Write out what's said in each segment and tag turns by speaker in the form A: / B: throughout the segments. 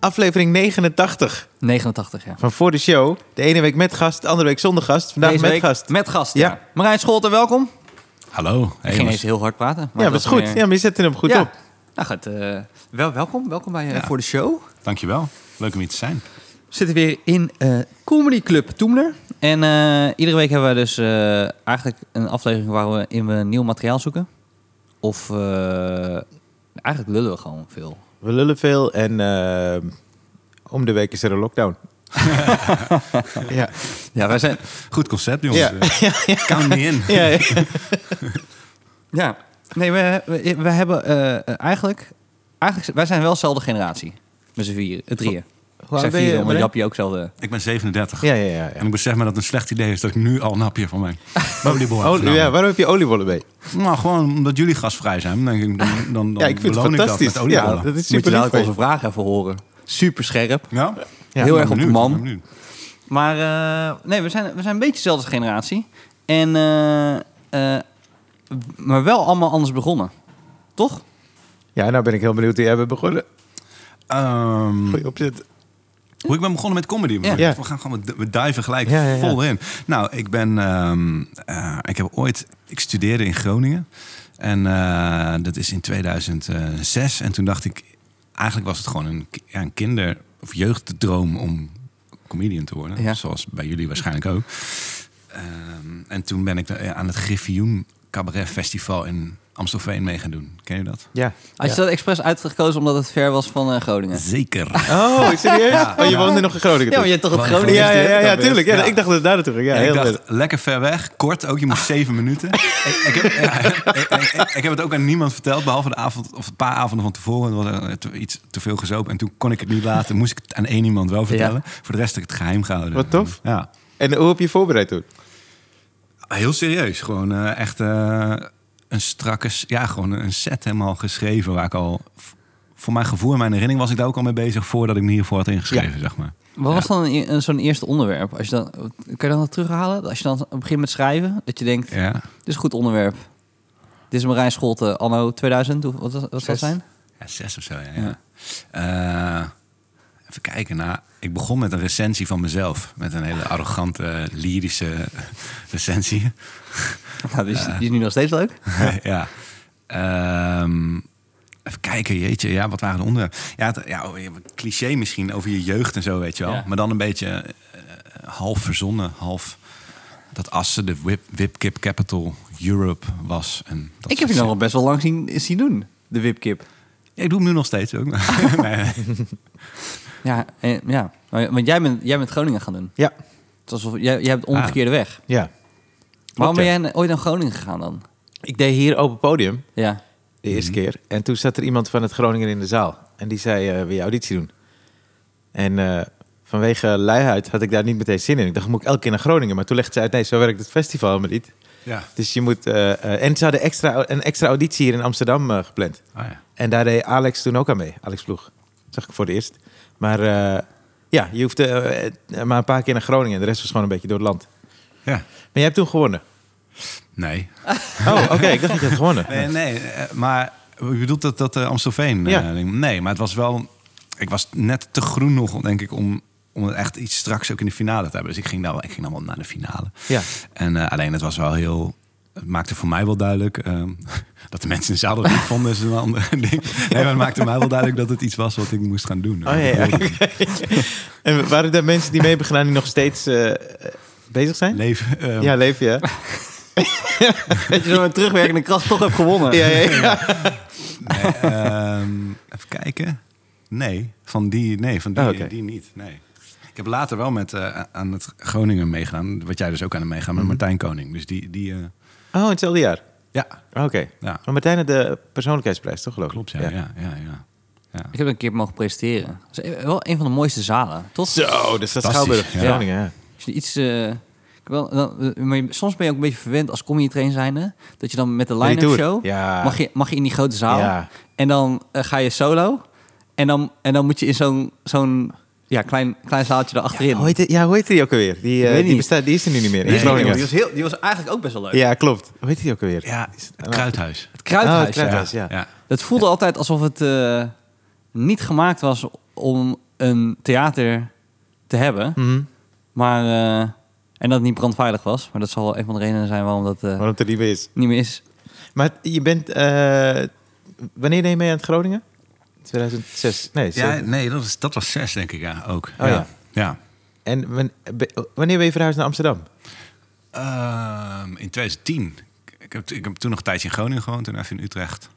A: aflevering 89
B: 89, ja.
A: van Voor de Show. De ene week met gast, de andere week zonder gast. Vandaag
B: Deze
A: met
B: week
A: gast.
B: Met gast,
A: Ja.
B: ja. Marijn Scholten, welkom.
C: Hallo. Hey,
B: Ik ging
C: jongens.
B: eens heel hard praten.
A: ja, dat is goed. Ja, maar je zette hem goed op.
B: Nou, gaat, eh, wel, welkom. Welkom bij eh,
C: Ja.
B: voor de show.
C: Dankjewel. Leuk om hier te zijn.
B: We zitten weer in eh Comedy Club Toemler. En eh, iedere week hebben we dus eh, eigenlijk een aflevering waar we in we nieuw materiaal zoeken. Of eh, eigenlijk lullen we gewoon veel.
A: We lullen veel en eh, om de week is er een lockdown. ja.
B: Ja, wij zijn...
C: Goed concept, jongens.
A: Ja.
C: Eh, Count me in.
A: Ja, ja.
B: Ja. Nee, we, we, we hebben eh, eh, eigenlijk, eigenlijk... Wij zijn wel dezelfde generatie. Met z'n vier, eh, drieën.
A: Hoe oud
B: zijn
A: ben je,
B: vier, maar
A: Marijn?
B: Japje ook zelfde.
C: Ik ben 37.
A: Ja, ja, ja.
C: En
A: ja.
C: ik besef me dat het een slecht idee is dat ik nu al een hapje van mijn oliebollen heb
A: Oh,
C: genomen.
A: ja, waarom heb je oliebollen mee?
C: Nou, gewoon omdat jullie gasvrij zijn. Dan, denk ik, dan, dan, dan
A: Ja, ik vind het
C: beloon
A: fantastisch.
C: dat met oliebollen.
A: Ja, dat is
B: Moet je
A: super lief.
B: dadelijk
A: van je.
B: onze vraag even horen. Super scherp.
C: Ja?
A: Ja,
B: heel
C: Ik ben
B: erg op de
C: benieuwd,
B: man.
C: ik ben benieuwd.
B: Maar eh, nee, we zijn, we zijn een beetje dezelfde generatie. En, eh, eh, maar wel allemaal anders begonnen. Toch?
A: Ja, nou ben ik heel benieuwd hoe jij bent begonnen.
C: Ehm,
A: Goeie opzet.
C: Hoe ik ben begonnen met comedy.
B: Ja.
A: Ja.
C: We gaan gewoon, we duiven gelijk
A: Ja, ja, ja.
C: vol in. Nou, ik ben, ehm, eh, ik heb ooit, ik studeerde in Groningen. En eh, dat is in 2006. En toen dacht ik, eigenlijk was het gewoon een, ki- ja, een kinder- of jeugddroom om comedian te worden.
B: Ja.
C: Zoals bij jullie waarschijnlijk ook. Ehm, en toen ben ik eh, aan het Griffioen Cabaret Festival in Amstelveen mee gaan doen. Ken je dat?
A: Ja.
B: Had je dat expres uitgekozen omdat het ver was van eh, Groningen?
C: Zeker.
A: Oh, serieus? Oh, je woonde nog in Groningen
B: Ja,
A: toen?
B: maar je hebt toch het
C: Van
B: Groningen?
A: ja, ja,
B: gestuurd?
A: ja, ja,
B: Dat is-
A: tuurlijk. Ja, Ik dacht dat het daar naartoe ging. Ja,
C: Ja,
A: heel
C: ik dacht,
A: leuk. Ah.
C: lekker ver weg, kort ook. Je moest zeven minuten. ik, ik, heb, ja, ik, ik- ik heb het ook aan niemand verteld, behalve de avond of een paar avonden van tevoren. Er was eh, te- iets te veel gezopen en toen kon ik het niet laten. Moest ik het aan één iemand wel vertellen. Voor de rest heb ik het geheim gehouden.
A: Wat tof.
C: Ja.
A: En hoe heb je je voorbereid toen?
C: Heel serieus, gewoon eh, echt eh, een strakke, s- ja, gewoon een set helemaal geschreven waar ik al... v- Voor mijn gevoel en mijn herinnering was ik daar ook al mee bezig voordat ik me hiervoor had ingeschreven, zeg maar.
B: Wat was dan een- een- zo'n eerste onderwerp? Als je dan, kan je dat nog terughalen? Als je dan begint met schrijven, dat je denkt,
C: Ja.
B: dit is een goed onderwerp. Dit is Marijn Scholten, anno 2000, hoe- wat was- wat zou dat
A: Zes.
B: zijn?
C: Ja, zes of zo, ja. ja. Eh, even kijken naar... Ik begon met een recensie van mezelf. Met een hele arrogante, lyrische recensie.
B: Nou, die is, die is nu nog steeds leuk.
C: ja. Ehm, even kijken, jeetje. Ja, wat waren de onderwerpen? Ja, het- ja, oh, ja, cliché misschien over je jeugd en zo, weet je wel.
B: Ja.
C: Maar dan een beetje eh, half verzonnen, half... Dat Assen de Whip, Whipkip Capital Europe was. En dat
B: ik heb je nog
C: soort-
B: wel best wel lang zien, zien doen, de wipkip.
C: Ja, ik doe hem nu nog steeds ook. Nee.
B: Ja, eh, ja. Maar- want jij bent, jij bent Groningen gaan doen.
A: Ja.
B: Het is alsof, jij, jij hebt de omgekeerde weg.
A: Ja.
B: Waarom
A: Ah, ja.
B: ben jij na- ooit naar Groningen gegaan dan?
A: Ik deed hier open podium
B: Ja.
A: de eerste keer. En toen zat er iemand van het Groningen in de zaal. En die zei, eh wil je auditie doen? En eh, vanwege luiheid had ik daar niet meteen zin in. Ik dacht, moet ik elke keer naar Groningen? Maar toen legde ze uit, nee, zo werkt het festival helemaal niet.
C: ja.
A: Dus je moet... eh, eh, en ze hadden extra, een extra auditie hier in Amsterdam eh, gepland.
C: Oh, ja.
A: En daar deed Alex toen ook aan mee. Alex Ploeg. Dat zag ik voor het eerst. Maar eh, ja, je hoefde eh, eh, maar een paar keer naar Groningen. En de rest was gewoon een beetje door het land.
C: ja.
A: Maar jij hebt toen gewonnen.
C: Nee,
A: Oh, oké. Ik dacht dat je had gewonnen.
C: Nee, nee, eh, maar je bedoelt dat, dat eh, Amstelveen? eh,
A: Ja.
C: ding? nee, maar het was wel... Ik was net te groen nog, denk ik, om, om het echt iets straks ook in de finale te hebben. Dus ik ging dan, wel- ik ging dan wel naar de finale.
A: Ja.
C: En eh, alleen het was wel heel... Het maakte voor mij wel duidelijk... ehm, dat de mensen in de zaal dat niet vonden is een ander ding. Nee, maar het maakte mij wel duidelijk dat het iets was wat ik moest gaan doen.
A: Oh, ja, ja. En waren er mensen die mee hebben gedaan die nog steeds eh, eh, bezig zijn?
C: Leven. ehm,
A: Ja, leef je. hè?
B: Dat je zo'n terugwerkende kracht toch hebt gewonnen.
A: Ja, ja, ja.
C: nee, ehm, even kijken. Nee, van die, nee, van die,
A: Oh, oké.
C: die niet. Nee. Ik heb later wel met, eh, aan het Groningen meegedaan. Wat jij dus ook aan hem meegaan met
A: Mhm.
C: Martijn Koning. Dus die, die eh,
A: Oh, hetzelfde jaar.
C: ja,
A: Oké.
C: Ja.
A: Maar Martijn had de persoonlijkheidsprijs, toch geloof ik?
C: klopt. Ja, ja. Ja, ja, ja.
B: Ik heb een keer mogen presenteren. Dat is e-, wel een van de mooiste zalen, toch?
A: Zo, dus dat is
C: Fantastisch,
A: Schouwburg,
C: ja.
A: Groningen. Ja.
B: Als je iets... eh, ik wel, dan, eh, maar je- soms ben je ook een beetje verwend als comedy train zijnde. Dat je dan met de
A: die
B: line-up
A: tour.
B: show...
A: Ja.
B: Mag, je, mag je in die grote zaal.
A: Ja.
B: En dan eh, ga je solo. En dan, en dan moet je in zo'n zo'n ja, klein, klein zaaltje erachterin.
A: Hoe heet die- ja, hoe heet die ook alweer? Die, eh,
B: weet
A: die,
B: niet.
A: bestaat, die is er nu niet meer. in
C: Nee,
A: Groningen.
B: die, was heel, die was eigenlijk ook best wel leuk.
A: Ja, klopt. Hoe heet die ook alweer?
C: ja het Kruidhuis.
B: Het Kruidhuis.
A: Oh, het
B: ja.
A: Kruidhuis, ja.
C: ja.
B: Dat voelde altijd alsof het eh, niet gemaakt was om een theater te hebben.
A: Mhm.
B: Maar, eh, en dat het niet brandveilig was. Maar dat zal wel een van de redenen zijn waarom dat eh,
A: Waarom het er niet meer is.
B: niet meer is.
A: Maar je bent... eh, wanneer deed je mee aan het Groningen? 2006. Nee,
C: Ja,
A: zeven.
C: nee, dat was, dat was zes, denk ik, ja, ook.
A: Oh, ja.
C: ja.
A: En wan- be- wanneer ben je verhuisd naar Amsterdam?
C: Ehm, in 2010. Ik heb, ik heb toen nog een tijdje in Groningen gewoond, toen even in Utrecht.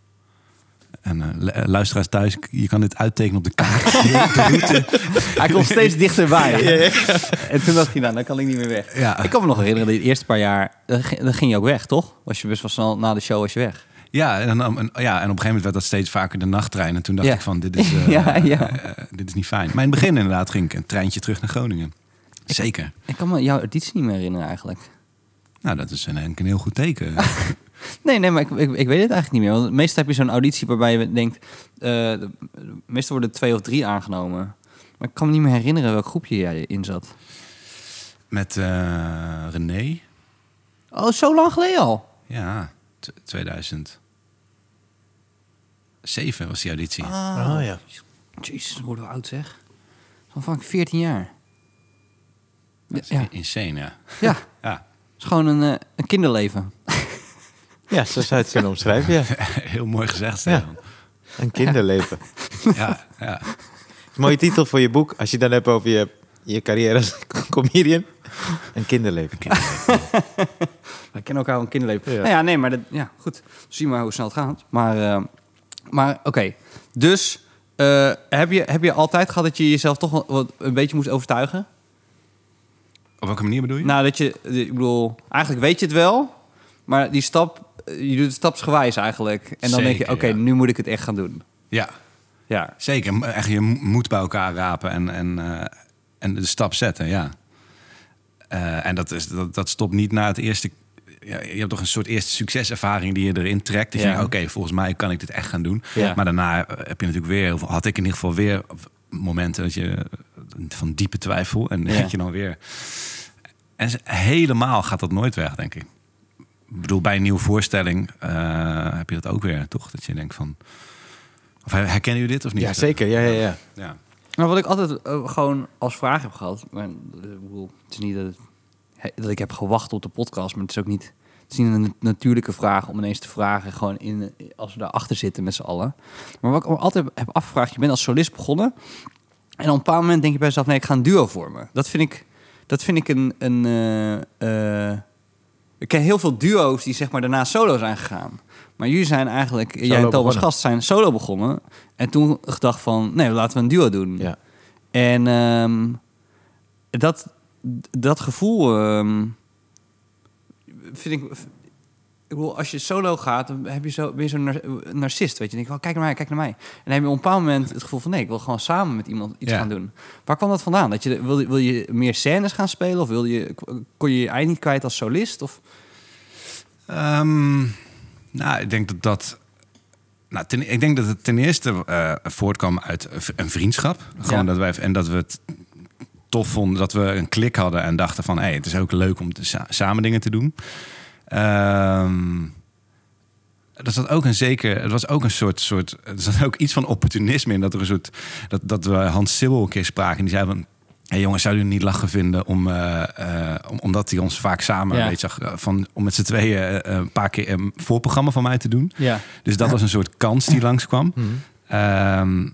C: En eh, lu- eh, luisteraars thuis, k- je kan dit uittekenen op de kaart.
B: Hij komt steeds dichterbij. En toen dacht hij, nou, dan kan ik niet meer weg.
C: Ja.
B: Ik kan me nog herinneren dat je de eerste paar jaar... Dan ging, dan ging je ook weg, toch? Was je best wel snel na de show was je weg.
C: ja, en, dan, en, ja, en op een gegeven moment werd dat steeds vaker de nachttrein. En toen dacht
B: Ja.
C: ik van, dit is, eh,
B: Ja, ja.
C: eh, eh, dit is niet fijn. Maar in het begin inderdaad ging ik een treintje terug naar Groningen. Zeker.
B: Ik kan me jouw auditie niet meer herinneren eigenlijk.
C: Nou, dat is een, een heel goed teken.
B: Nee, nee, maar ik, ik, ik weet het eigenlijk niet meer. Want meestal heb je zo'n auditie waarbij je denkt... eh, de- meestal worden twee of drie aangenomen. Maar ik kan me niet meer herinneren welk groepje jij in zat.
C: Met eh, René.
B: Oh, zo lang geleden al?
C: Ja, t- 2007 was die auditie.
B: Ah,
A: Oh,
C: Ah,
A: ja.
B: Jezus, worden we oud zeg. Van vaak 14 jaar.
C: Dat is
B: Ja, ja.
C: Insane, ja.
B: Ja, het
C: Ja,
B: is gewoon een, eh, een kinderleven.
A: Ja, zo zou je het kunnen omschrijven, ja.
C: heel mooi gezegd,
A: Ja.
C: Stefan.
A: Een kinderleven.
C: Ja. Ja,
A: Mooie titel voor je boek. Als je het dan hebt over je, je carrière als comedian. Een kinderleven.
B: Wij kennen elkaar van kinderleven.
A: Ja.
B: Nou ja, nee, maar dat, ja, goed. Zie maar hoe snel het gaat. Maar, eh, maar oké. Dus eh, heb, je, heb je altijd gehad dat je jezelf toch wel wat, een beetje moest overtuigen?
C: Op welke manier bedoel je?
B: Nou, dat je, eh, ik bedoel, eigenlijk weet je het wel, maar die stap, eh, je doet het stapsgewijs eigenlijk. En dan denk je,
C: Zeker,
B: oké,
C: ja.
B: nu moet ik het echt gaan doen.
C: Ja,
B: Ja.
C: zeker. M- Echt, je m- moet bij elkaar rapen en, en, eh, en de stap zetten, ja. Eh, en dat, is, dat, dat stopt niet na het eerste... Ja, je hebt toch een soort eerste succeservaring die je erin trekt. Dat je
B: Ja.
C: denkt, oké, volgens mij kan ik dit echt gaan doen.
B: Ja.
C: Maar daarna eh, heb je natuurlijk weer... of had ik in ieder geval weer momenten dat je, eh, van diepe twijfel... en
B: Ja.
C: heb je dan weer... En ze- helemaal gaat dat nooit weg, denk ik. Ik bedoel, bij een nieuwe voorstelling eh, heb je dat ook weer, toch? Dat je denkt van... Of her- herkennen jullie dit of niet?
A: Ja, zeker. Ja, ja, ja.
C: Ja.
B: Maar wat ik altijd eh, gewoon als vraag heb gehad, maar, eh, ik bedoel, het is niet dat, het- he- dat ik heb gewacht op de podcast, maar het is ook niet, het is niet een natuurlijke vraag om ineens te vragen, gewoon in, als we daarachter zitten met z'n allen. Maar wat ik me altijd heb afgevraagd, je bent als solist begonnen en op een bepaald moment denk je bij jezelf, nee, ik ga een duo vormen. Dat vind ik, dat vind ik een, een eh, eh, ik ken heel veel duo's die zeg maar daarna solo zijn gegaan. Maar jullie zijn eigenlijk, jij en Thomas
A: begonnen.
B: Gast zijn solo begonnen. En toen gedacht van, nee, laten we een duo doen.
C: Mm-hmm.
A: ja.
B: En ehm, dat, dat gevoel ehm, vind ik. Ik bedoel, als je solo gaat, dan heb je zo, ben je zo'n nar- narcist. Weet je, dan denk je, oh, kijk naar mij, kijk naar mij. En dan heb je op een bepaald moment het gevoel van nee, ik wil gewoon samen met iemand iets
C: Ja.
B: gaan doen. Waar kwam dat vandaan? Dat je, wil, je- wil je meer scènes gaan spelen? Of wil je, kon je je ei niet kwijt als solist? Of,
C: Ehm, nou, ik denk dat dat... Nou, ten, ik denk dat het ten eerste eh, voortkwam uit een v- een vriendschap. Gewoon
B: Ja.
C: dat wij, en dat we het tof vonden, dat we een klik hadden en dachten van... hé, hey, het is ook leuk om te sa- samen dingen te doen. Ehm er zat ook een zeker, het was ook een soort, soort, er zat ook iets van opportunisme in dat er een soort, dat, dat we Hans Sibbel een keer spraken en die zei van, hey jongens, zou je het niet lachen vinden om, eh, eh, om- omdat hij ons vaak samen,
B: Ja.
C: weet je, zag, eh, van om met z'n tweeën eh, een paar keer een voorprogramma van mij te doen.
B: ja. Mhm.
C: Dus dat was een soort kans die langskwam. Ehm,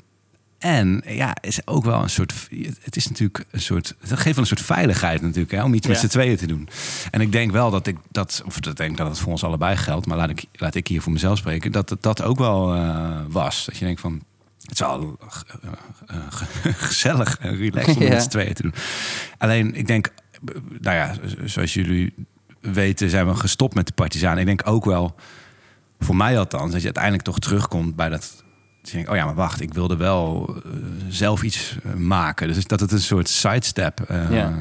C: en ja, is ook wel een soort. Het is natuurlijk een soort. Het geeft wel een soort veiligheid natuurlijk, hè, om iets met
B: Ja.
C: z'n tweeën te doen. En ik denk wel dat ik dat, of dat denk ik dat het voor ons allebei geldt, maar laat ik, laat ik hier voor mezelf spreken, dat het dat ook wel eh, was. Dat je denkt van. Het is wel eh, eh, ge- gezellig en relaxed om
B: Ja.
C: met z'n tweeën te doen. Alleen, ik denk, nou ja, zoals jullie weten, zijn we gestopt met de Partizaan. Ik denk ook wel voor mij althans, dat je uiteindelijk toch terugkomt bij dat. dat je denkt, oh ja, maar wacht, ik wilde wel eh, zelf iets eh, maken. Dus dat het een soort sidestep eh
B: Ja.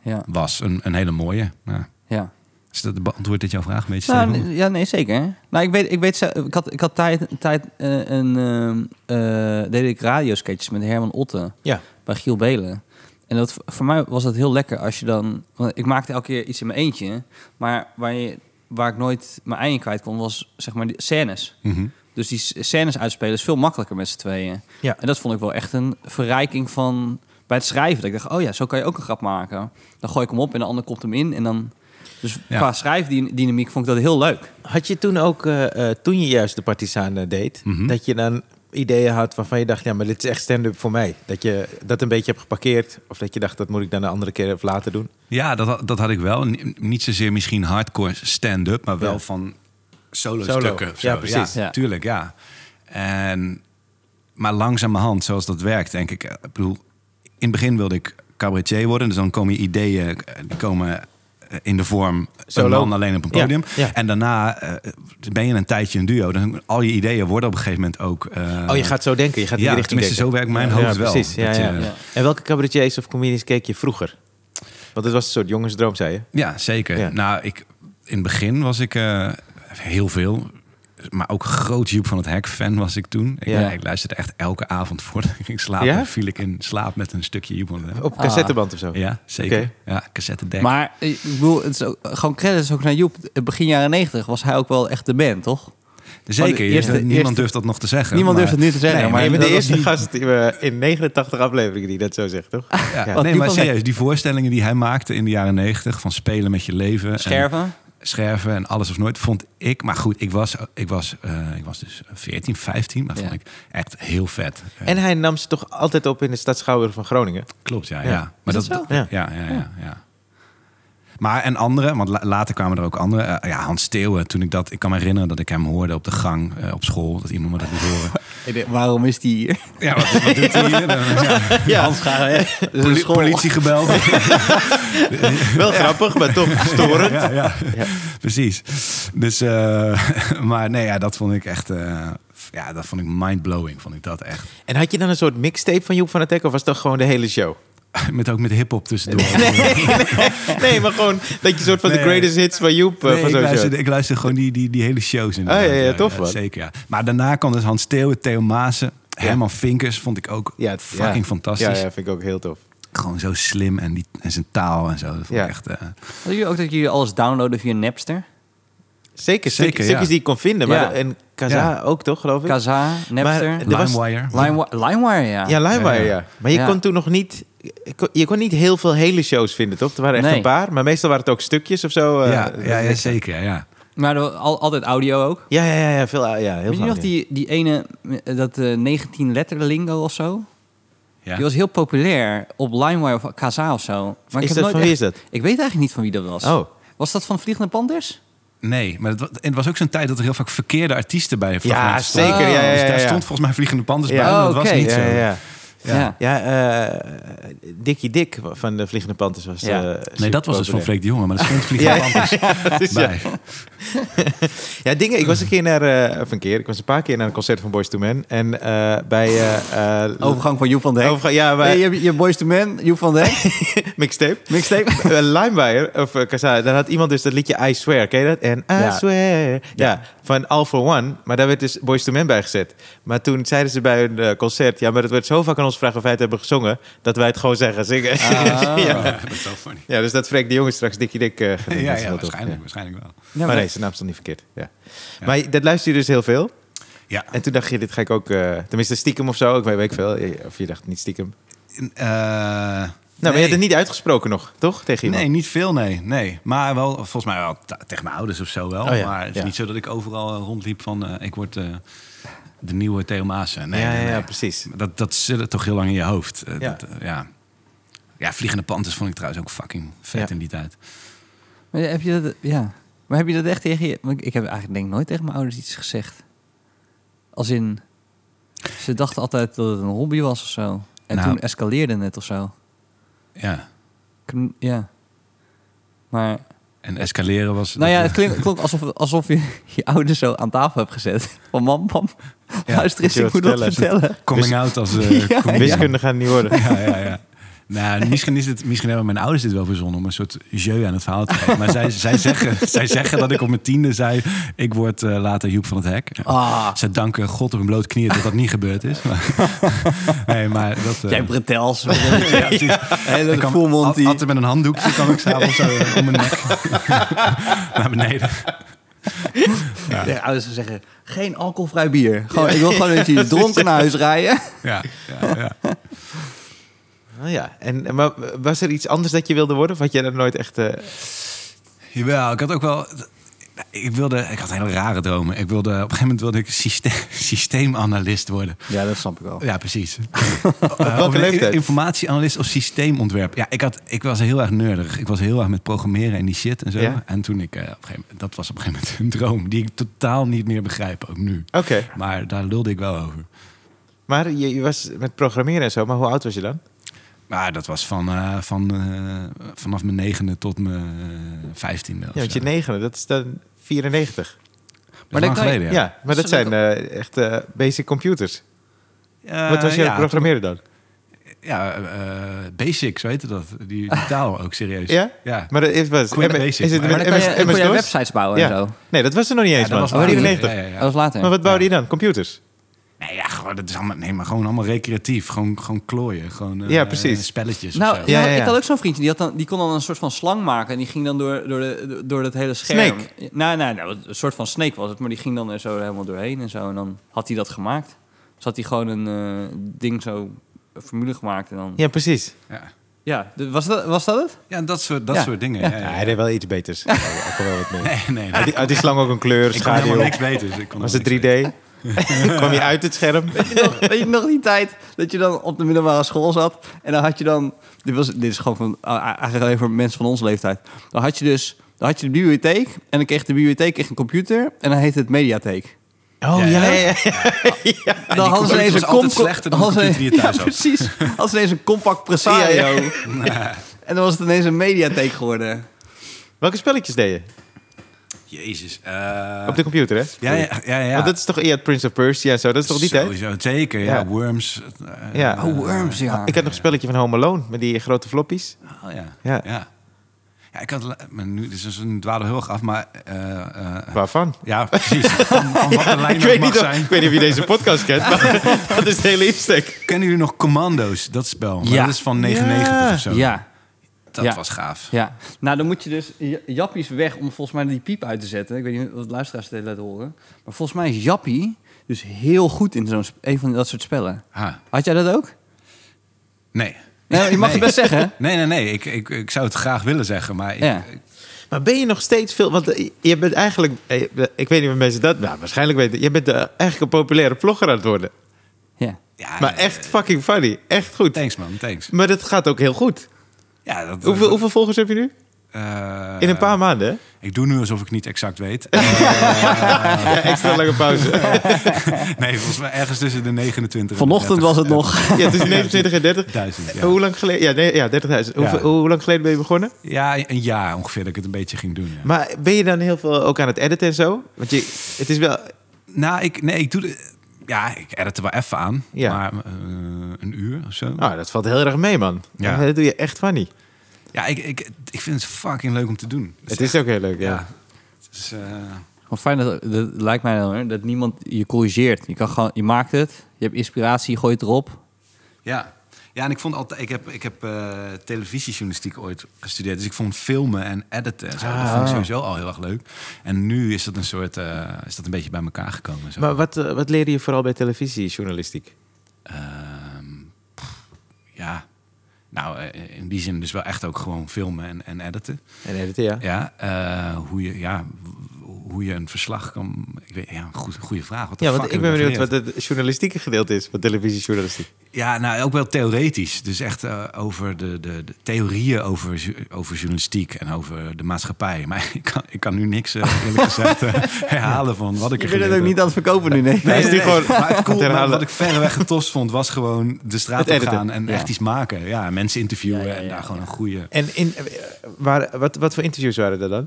B: ja,
C: was. Een, een hele mooie. Ja.
B: ja.
C: Is dat beantwoord dit jouw vraag een beetje?
B: Nou,
C: Stefan?
B: nee, ja, nee, zeker. Nou, ik weet, ik weet, ze- ik had, ik had tijd, tijd eh, een, ehm, eh, deed ik radiosketches met Herman Otte
A: Ja.
B: bij Giel Belen. En dat, voor mij was dat heel lekker als je dan... Want ik maakte elke keer iets in mijn eentje. Maar waar je, waar ik nooit mijn ei in kwijt kon, was zeg maar die scènes.
C: Mhm.
B: Dus die s- scènes uitspelen is veel makkelijker met z'n tweeën.
A: Ja.
B: En dat vond ik wel echt een verrijking van bij het schrijven. Dat ik dacht, oh ja, zo kan je ook een grap maken. Dan gooi ik hem op en de ander komt hem in. En dan, dus
C: Ja.
B: qua schrijfdynamiek vond ik dat heel leuk.
A: Had je toen ook, eh, eh, toen je juist de Partizan eh, deed,
C: Mm-hmm.
A: dat je dan ideeën had waarvan je dacht, ja, maar dit is echt stand-up voor mij. Dat je dat een beetje hebt geparkeerd. Of dat je dacht, dat moet ik dan een andere keer of later doen.
C: Ja, dat, had- dat had ik wel. Ni- Niet zozeer misschien hardcore stand-up, maar wel
A: Ja.
C: van solo,
A: Solo.
C: stukken. of zo.
A: Ja, precies.
C: Ja,
B: Ja.
C: Tuurlijk, ja. En, maar langzamerhand, zoals dat werkt, denk ik. eh, Ik bedoel, in het begin wilde ik cabaretier worden. Dus dan komen je ideeën, eh, die komen eh, in de vorm
A: Solo.
C: een man alleen op een
A: Ja,
C: podium.
A: ja.
C: En daarna eh, ben je een tijdje een duo. Dan al je ideeën worden op een gegeven moment ook... eh,
A: oh, je gaat zo denken. Je gaat in
C: ja,
A: die richting
C: tenminste,
A: denken.
C: zo werkt mijn hoofd wel.
A: Precies, ja,
C: Dat eh,
A: ja.
C: je-
B: Ja.
A: En welke cabaretiers of comedians keek je vroeger? Want het was een soort jongensdroom, zei je.
C: Ja, zeker.
A: Ja.
C: Nou, ik, in het begin was ik eh, heel veel. Maar ook groot Joep van het Hek fan was ik toen. Ik,
A: Ja.
C: ik luisterde echt elke avond voordat ik ging slapen.
A: Ja?
C: Viel ik in slaap met een stukje Joep van het Hek.
A: Op cassetteband of zo?
C: Ja, zeker.
A: Oké.
C: Ja, cassettedek.
B: Maar eh, ik bedoel, het is ook, gewoon credits ook naar Joep. Eh, Begin jaren negentig was hij ook wel echt de man, toch?
C: Dus zeker.
B: de eerste-
C: niemand
B: eerste-
C: durft dat nog te zeggen.
B: Niemand
C: maar-
B: durft het nu te zeggen,
C: Nee,
B: maar
A: Maar je bent de
B: dat was
A: eerste
B: niet-
A: gast die we- in 89 afleveringen die dat zo zegt, toch?
C: ja,
A: Ja.
B: Wat
C: nee,
B: Joep
C: maar
B: van het Hek-
C: serieus. Die voorstellingen die hij maakte in de jaren negentig... van spelen met je leven. en-
B: Scherven.
C: scherven en alles of nooit, vond ik. Maar goed, ik was, ik was, eh, ik was dus 14, 15, maar
B: Ja.
C: vond ik echt heel vet. Ja,
A: En hij nam ze toch altijd op in de stad Schouwburg van Groningen?
C: klopt, ja.
A: Ja.
C: ja.
A: Is
C: Maar
A: dat zo?
C: Ja, ja, ja. ja, ja. Maar en andere, want la- later kwamen er ook andere. Eh, ja, Hans Steeuwen, toen ik dat, ik kan me herinneren dat ik hem hoorde op de gang eh, op school, dat iemand me dat liet horen.
B: waarom is die hier?
C: Ja, wat, wat doet hij hier? Eh, ja,
B: Ja. Hans Garen.
C: poli- politie gebeld.
A: Wel grappig, maar toch storend.
C: Ja, ja.
A: Ja.
C: precies. Dus, eh, maar nee, ja, dat vond ik echt, eh, ja, dat vond ik mindblowing, vond ik dat echt.
A: En had je dan een soort mixtape van Joep van het Hek? Of was dat gewoon de hele show?
C: Met ook met hip-hop tussendoor.
A: Nee, maar gewoon dat je een soort van de
C: Nee.
A: greatest hits van Joep... eh,
C: Nee,
A: van zo'n
C: ik,
A: show. Oh,
C: luister, ik luister gewoon die, die, die hele shows in.
A: ja, ja, tof, man.
C: Zeker, ja. Maar daarna kwam dus Hans Theo, Theo Maassen, Herman Vinkers vond ik ook
A: Ja, het-
C: fucking
A: ja.
C: fantastisch.
A: Ja, ja, vind ik ook heel tof.
C: Gewoon zo slim en, die, en zijn taal en zo. Dat vond ik
A: Ja.
C: echt, eh,
B: Hadden jullie ook dat jullie alles downloaden via Napster?
A: Zeker,
C: Zeker,
A: stukjes,
C: ja.
A: stukjes die ik kon vinden. Maar
B: Ja.
A: de- en Kaza
C: Ja.
A: ook toch, geloof ik?
B: Kazaa, Napster,
A: Er was-
C: LimeWire.
B: Limewi- LimeWire, ja.
A: ja, LimeWire, ja,
C: Ja, ja.
A: Maar je
B: Ja.
A: kon toen nog niet... je kon- Je kon niet heel veel hele shows vinden, toch? Er waren echt
B: Nee.
A: een paar, maar meestal waren het ook stukjes of zo. eh,
C: ja, ja, ja, zeker, ja.
B: Maar er was al, altijd audio ook.
A: Ja, ja, ja, ja, veel, ja heel
B: Weet je
A: veel.
B: nog
A: ja.
B: die, die ene, eh, dat 19 letter lingo of zo?
C: ja.
B: Die was heel populair op LimeWire of Kazaa of zo. Maar
A: Is
B: ik heb
A: dat
B: nooit
A: van wie
B: echt-
A: is dat?
B: Ik weet eigenlijk niet van wie dat was.
A: Oh.
B: Was dat van Vliegende Panthers?
C: Nee, maar het was, het was ook zo'n tijd dat er heel vaak verkeerde artiesten bij
A: Ja,
C: fragmenten stonden.
A: zeker. Ja, ja,
C: Dus
A: ja,
C: daar
A: ja.
C: stond volgens mij Vliegende Panders
A: Ja.
C: bij, maar
B: Oh,
C: dat
B: oké.
C: was niet
A: ja,
C: zo.
A: ja, ja.
C: Ja.
A: Ja, eh, Dikkie Dik van de Vliegende Panthers was...
B: Ja.
A: eh,
C: Nee, dat was dus van
A: superpopulair.
C: Freek de Jonge, maar dat stond Vliegende
A: Ja, ja,
C: Panthers
A: precies, ja.
C: bij.
A: Ja, dingen. Ik was een keer naar... eh, of een keer. Ik was een paar keer naar een concert van Boys to Men. En eh, bij... eh, eh,
B: Overgang van Joep van den Hek.
A: Overgang- ja, maar
B: Nee, je, hebt- je hebt Boys to Men, Joep van den Hek.
A: mixtape.
B: Mixtape.
A: Eh, Limewire, of eh, Kazaa, daar had iemand dus dat liedje I Swear, ken je dat? En I
B: Ja.
A: Swear, ja. van All For One, maar daar werd dus Boys to Men bij gezet. Maar toen zeiden ze bij hun eh, concert, ja, maar het werd zo vaak aan ons gevraagd of wij het hebben gezongen, dat wij het gewoon zijn gaan zingen.
C: Ah.
A: ja.
C: Dat is wel funny.
A: ja, dus dat Freek de jongen straks dikkie dik eh, gaat doen.
C: Ja,
A: Dat is
C: ja,
A: wel tof.
C: waarschijnlijk,
A: Ja.
C: waarschijnlijk wel.
B: Ja,
A: Maar
B: maar-
A: Oh, nee, zijn naam stond niet verkeerd. Ja. Maar dat luister je dus heel veel.
C: Ja.
A: En toen dacht je, dit ga ik ook, eh, tenminste stiekem of zo, ik weet, weet ik veel. eh, Of je dacht niet stiekem. Nou,
C: Eh,
A: maar Nou, je
C: nee.
A: hebt het niet uitgesproken nog, toch? Tegen iemand?
C: Nee, niet veel, nee. nee. Maar wel, volgens mij wel t- tegen mijn ouders of zo wel.
A: Oh ja,
C: Maar het is
A: ja.
C: niet zo dat ik overal eh, rondliep van... eh, ik word eh, de nieuwe Theo Maassen. Nee,
A: ja,
C: nee,
A: ja, ja,
C: nee.
A: precies.
C: Dat, dat zit toch heel lang in je hoofd. Eh,
A: Ja.
C: dat, eh, ja. ja, Vliegende Panthers vond ik trouwens ook fucking vet
A: Ja.
C: in die tijd.
B: Maar heb je dat, ja. Maar heb je dat echt tegen je... want Ik heb eigenlijk denk ik nooit tegen mijn ouders iets gezegd. Als in... Ze dachten altijd dat het een hobby was of zo. En
C: Nou.
B: toen escaleerde het of zo.
C: Ja.
B: Ik heb n- Ja. Maar...
C: En escaleren was...
B: Nou ja, het klink- klonk alsof, alsof je je ouders zo aan tafel hebt gezet. Van mam, mam,
A: moet
B: luister eens,
A: je wat
B: ik moet dat
A: vertellen.
B: vertellen.
C: Coming out als... eh,
B: Ja,
C: comedian.
A: Wiskunde gaat het niet worden.
C: Ja, ja, ja. Nou, misschien, is het, misschien hebben mijn ouders dit wel verzonnen om een soort jeu aan het verhaal te geven. Maar zij, zij, zeggen, zij zeggen dat ik op mijn tiende zei: ik word eh, later Joep van het Hek.
B: Ah.
C: Ze danken God op hun bloot knieën dat dat niet gebeurd is. Maar, nee, maar dat. eh,
B: Jij bretels.
C: ja, precies.
D: Hele
C: Ik kwam
D: full
C: al-
D: die
C: Altijd met een handdoekje kan ik s'avonds zo eh, om mijn nek naar beneden.
D: Ja, ouders zou zeggen, geen alcoholvrij bier. Gewoon, ik wil gewoon dat jullie dronken naar huis rijden.
C: Ja, ja, ja.
A: Ah, ja. En, en maar was er iets anders dat je wilde worden? Of had jij dat nooit echt... eh,
C: Jawel, ik had ook wel. Ik, wilde, ik had hele rare dromen. Ik wilde, op een gegeven moment wilde ik syste- systeemanalist worden.
D: Ja, dat snap ik wel.
C: Ja, precies. Eh, of
A: leeftijd?
C: Informatieanalist of systeemontwerp. Ja, ik, had, ik was heel erg nerdig. Ik was heel erg met programmeren en die shit en zo.
A: Ja.
C: En toen ik, eh, op een gegeven moment, dat was op een gegeven moment een droom die ik totaal niet meer begrijp, ook nu.
A: Oké.
C: Maar daar lulde ik wel over.
A: Maar je, je was met programmeren en zo, maar hoe oud was je dan?
C: Maar dat was van, eh, van, eh, vanaf mijn negende tot mijn eh, vijftiende.
A: Ja, want je negende, dat is dan 94.
C: Maar
B: Maar
C: lang
B: dan kan je-
C: geleden,
A: Ja,
C: ja.
A: maar dat zijn
B: Zullen
A: eh, echt eh, basic computers. Wat was
C: Eh,
A: je aan het
C: ja, toen-
A: programmeren dan?
C: Ja, eh, basic, zo heette dat. Die, die taal ook serieus.
A: Ja?
C: Ja.
A: Maar dat is, was,
C: Quick
A: M-
C: basic,
A: is het
C: maar-
B: Maar
A: met
B: dan kan
A: MS,
B: je, dan kon je
A: MS-DOS?
B: websites bouwen
A: Ja.
B: en zo.
A: Nee, dat was er nog niet eens,
C: dat
A: man.
C: was later.
A: 94.
C: Ja, ja, ja.
B: Dat was later.
A: Maar wat bouwde je dan? Computers?
C: Nee, ja, gewoon, dat is allemaal, nee, maar gewoon allemaal recreatief. Gewoon, gewoon klooien. Gewoon eh,
A: Ja, precies.
C: spelletjes.
B: Nou,
C: of zo.
A: Ja,
B: nou,
A: ja, ja.
B: ik had ook zo'n vriendje. Die, had dan, die kon dan een soort van slang maken. En die ging dan door, door, de, door dat hele scherm. Nou, nou, nou, een soort van snake was het. Maar die ging dan er zo helemaal doorheen en zo. En dan had hij dat gemaakt. Dus had hij gewoon een eh, ding zo, een formule gemaakt. En dan... Ja,
A: Ja, precies.
C: Ja.
B: de- was, dat, was dat het?
C: ja, dat soort, dat
B: Ja.
C: soort dingen.
B: Ja.
C: Ja, ja,
A: Ja,
C: ja.
A: hij deed wel iets beters. Ja, ik kon wel wat mee.
C: Nee, nee,
A: Had
C: nee.
A: die, had die slang ook een kleur,
C: Ik kon helemaal
A: schaduw?
C: niks beters. Ik kon
A: Was het
C: helemaal niks
A: 3D? Kwam je uit het scherm?
B: Weet je nog die tijd dat je dan op de middelbare school zat en dan had je dan... Dit, was, dit is gewoon van, ah, eigenlijk alleen voor mensen van onze leeftijd. Dan had je dus dan had je de bibliotheek en dan kreeg de bibliotheek echt een computer en dan heette het mediatheek.
A: Oh
C: Ja, ja.
B: Dan
C: die
B: hadden ze
C: computer
B: ineens een
C: was altijd
B: kom-
C: slechter dan de
B: hadden ze-
C: computer die je thuis
B: ja,
C: had.
B: precies. Hadden ze ineens een compact presario. En dan was het ineens een mediatheek geworden.
A: Welke spelletjes deed je?
C: beters. Jezus. eh,
A: Op de computer, hè?
C: ja, ja, ja, ja.
A: Want dat is toch ja, Prince of Persia en zo? Dat is toch die tijd?
C: Sowieso, zeker. Ja,
A: Ja.
C: Worms. eh,
A: Ja.
B: Oh, worms, ja.
A: Ik had nog een spelletje van Home Alone met die grote floppies.
C: Oh, ja.
A: Ja.
C: Ja. ja. ik had... la- Maar nu, dit is een dwaal heel erg af, maar... eh, eh,
A: Waarvan?
C: ja, precies. Van, van wat de lijn
A: Ik
C: ook
A: weet,
C: mag
A: niet of,
C: zijn.
A: ik weet niet of je deze podcast kent, maar dat is de hele insteek.
C: Kennen jullie nog Commando's, dat spel? Maar
B: Ja.
C: Dat is van 99
A: Ja.
C: of zo.
B: Ja,
C: Dat
B: Ja.
C: was gaaf.
B: ja. Nou, dan moet je dus ja- Jappies weg om volgens mij die piep uit te zetten. Ik weet niet wat de luisteraars het laten horen. Maar volgens mij is Jappie dus heel goed in zo'n, sp- een van dat soort spellen.
C: Ha.
B: Had jij dat ook?
C: Nee.
B: Nee, Nou, je mag
C: Nee.
B: het best zeggen.
C: Nee, nee, nee. Ik, ik, ik zou het graag willen zeggen, maar... Ik,
B: Ja.
A: Maar ben je nog steeds veel... Want eh, je bent eigenlijk... eh, Ik weet niet of mensen dat... Nou, waarschijnlijk weten. Je bent eh, eigenlijk een populaire vlogger aan het worden.
B: Ja.
C: ja,
A: Maar
C: eh,
A: echt fucking funny. Echt goed.
C: Thanks, man. Thanks.
A: Maar dat gaat ook heel goed.
C: Ja, dat,
A: Hoeveel, hoeveel volgers heb je nu?
C: eh,
A: In een paar maanden, hè?
C: Ik doe nu alsof ik niet exact weet.
A: Ja, extra lange pauze.
C: nee, volgens mij ergens tussen de 29
B: Vanochtend was het nog.
A: Ja, tussen 29 en 30.
C: Duizend, ja.
A: Hoe lang geleden? Ja, nee, ja 30.000. Hoeveel-
C: Ja.
A: Hoe lang geleden ben je begonnen?
C: Ja, een jaar ongeveer dat ik het een beetje ging doen. Ja.
A: Maar ben je dan heel veel ook aan het editen en zo? Want je, het is wel...
C: Nou, ik, nee, ik doe de, ja, ik edit er wel even aan,
A: Ja.
C: maar eh, een uur of zo.
A: Nou, dat valt heel erg mee, man.
C: Ja.
A: Dat doe je echt funny.
C: Ja, ik, ik, ik vind het fucking leuk om te doen.
A: Het is ook heel leuk,
C: ja.
A: ja.
C: Het is, eh,
B: Gewoon fijn dat, dat lijkt mij dan, hè, dat niemand je corrigeert. Je, kan gewoon, je maakt het, je hebt inspiratie, je gooit het erop.
C: ja. ja, en ik vond altijd, ik heb, ik heb eh, televisiejournalistiek ooit gestudeerd, dus ik vond filmen en editen en zo, dat
A: Ah.
C: vond ik sowieso al heel erg leuk. En nu is dat een soort, eh, is dat een beetje bij elkaar gekomen. Zo.
A: Maar wat, eh, wat leerde je vooral bij televisiejournalistiek?
C: Ehm, pff, ja, nou, eh, in die zin dus wel echt ook gewoon filmen en, en editen.
A: En editen, ja.
C: Ja, eh, hoe, je, ja w- hoe je een verslag kan. Ik weet, ja, goed, goede vraag. Wat de
A: Ja,
C: fuck
A: want ik ben
C: heb daar
A: benieuwd wat
C: geleerd?
A: het journalistieke gedeelte is van televisiejournalistiek.
C: Ja, nou ook wel theoretisch. Dus echt eh, over de, de, de theorieën over, ju- over journalistiek en over de maatschappij. Maar ik kan, ik kan nu niks eh, eerlijk gezegd eh, herhalen van wat ik
B: Je bent het
C: er geleerd
B: ook
C: heb.
B: niet aan het verkopen nu, nee.
A: Hij is nu gewoon
C: maar het cool,
A: aan het
C: maar
A: herhalen.
C: wat ik verreweg getost vond, was gewoon de straat
A: Het
C: op
A: editen.
C: gaan en echt iets maken. Ja, mensen interviewen en daar gewoon een goede...
A: En in, eh, waar, wat, wat voor interviews waren dat dan?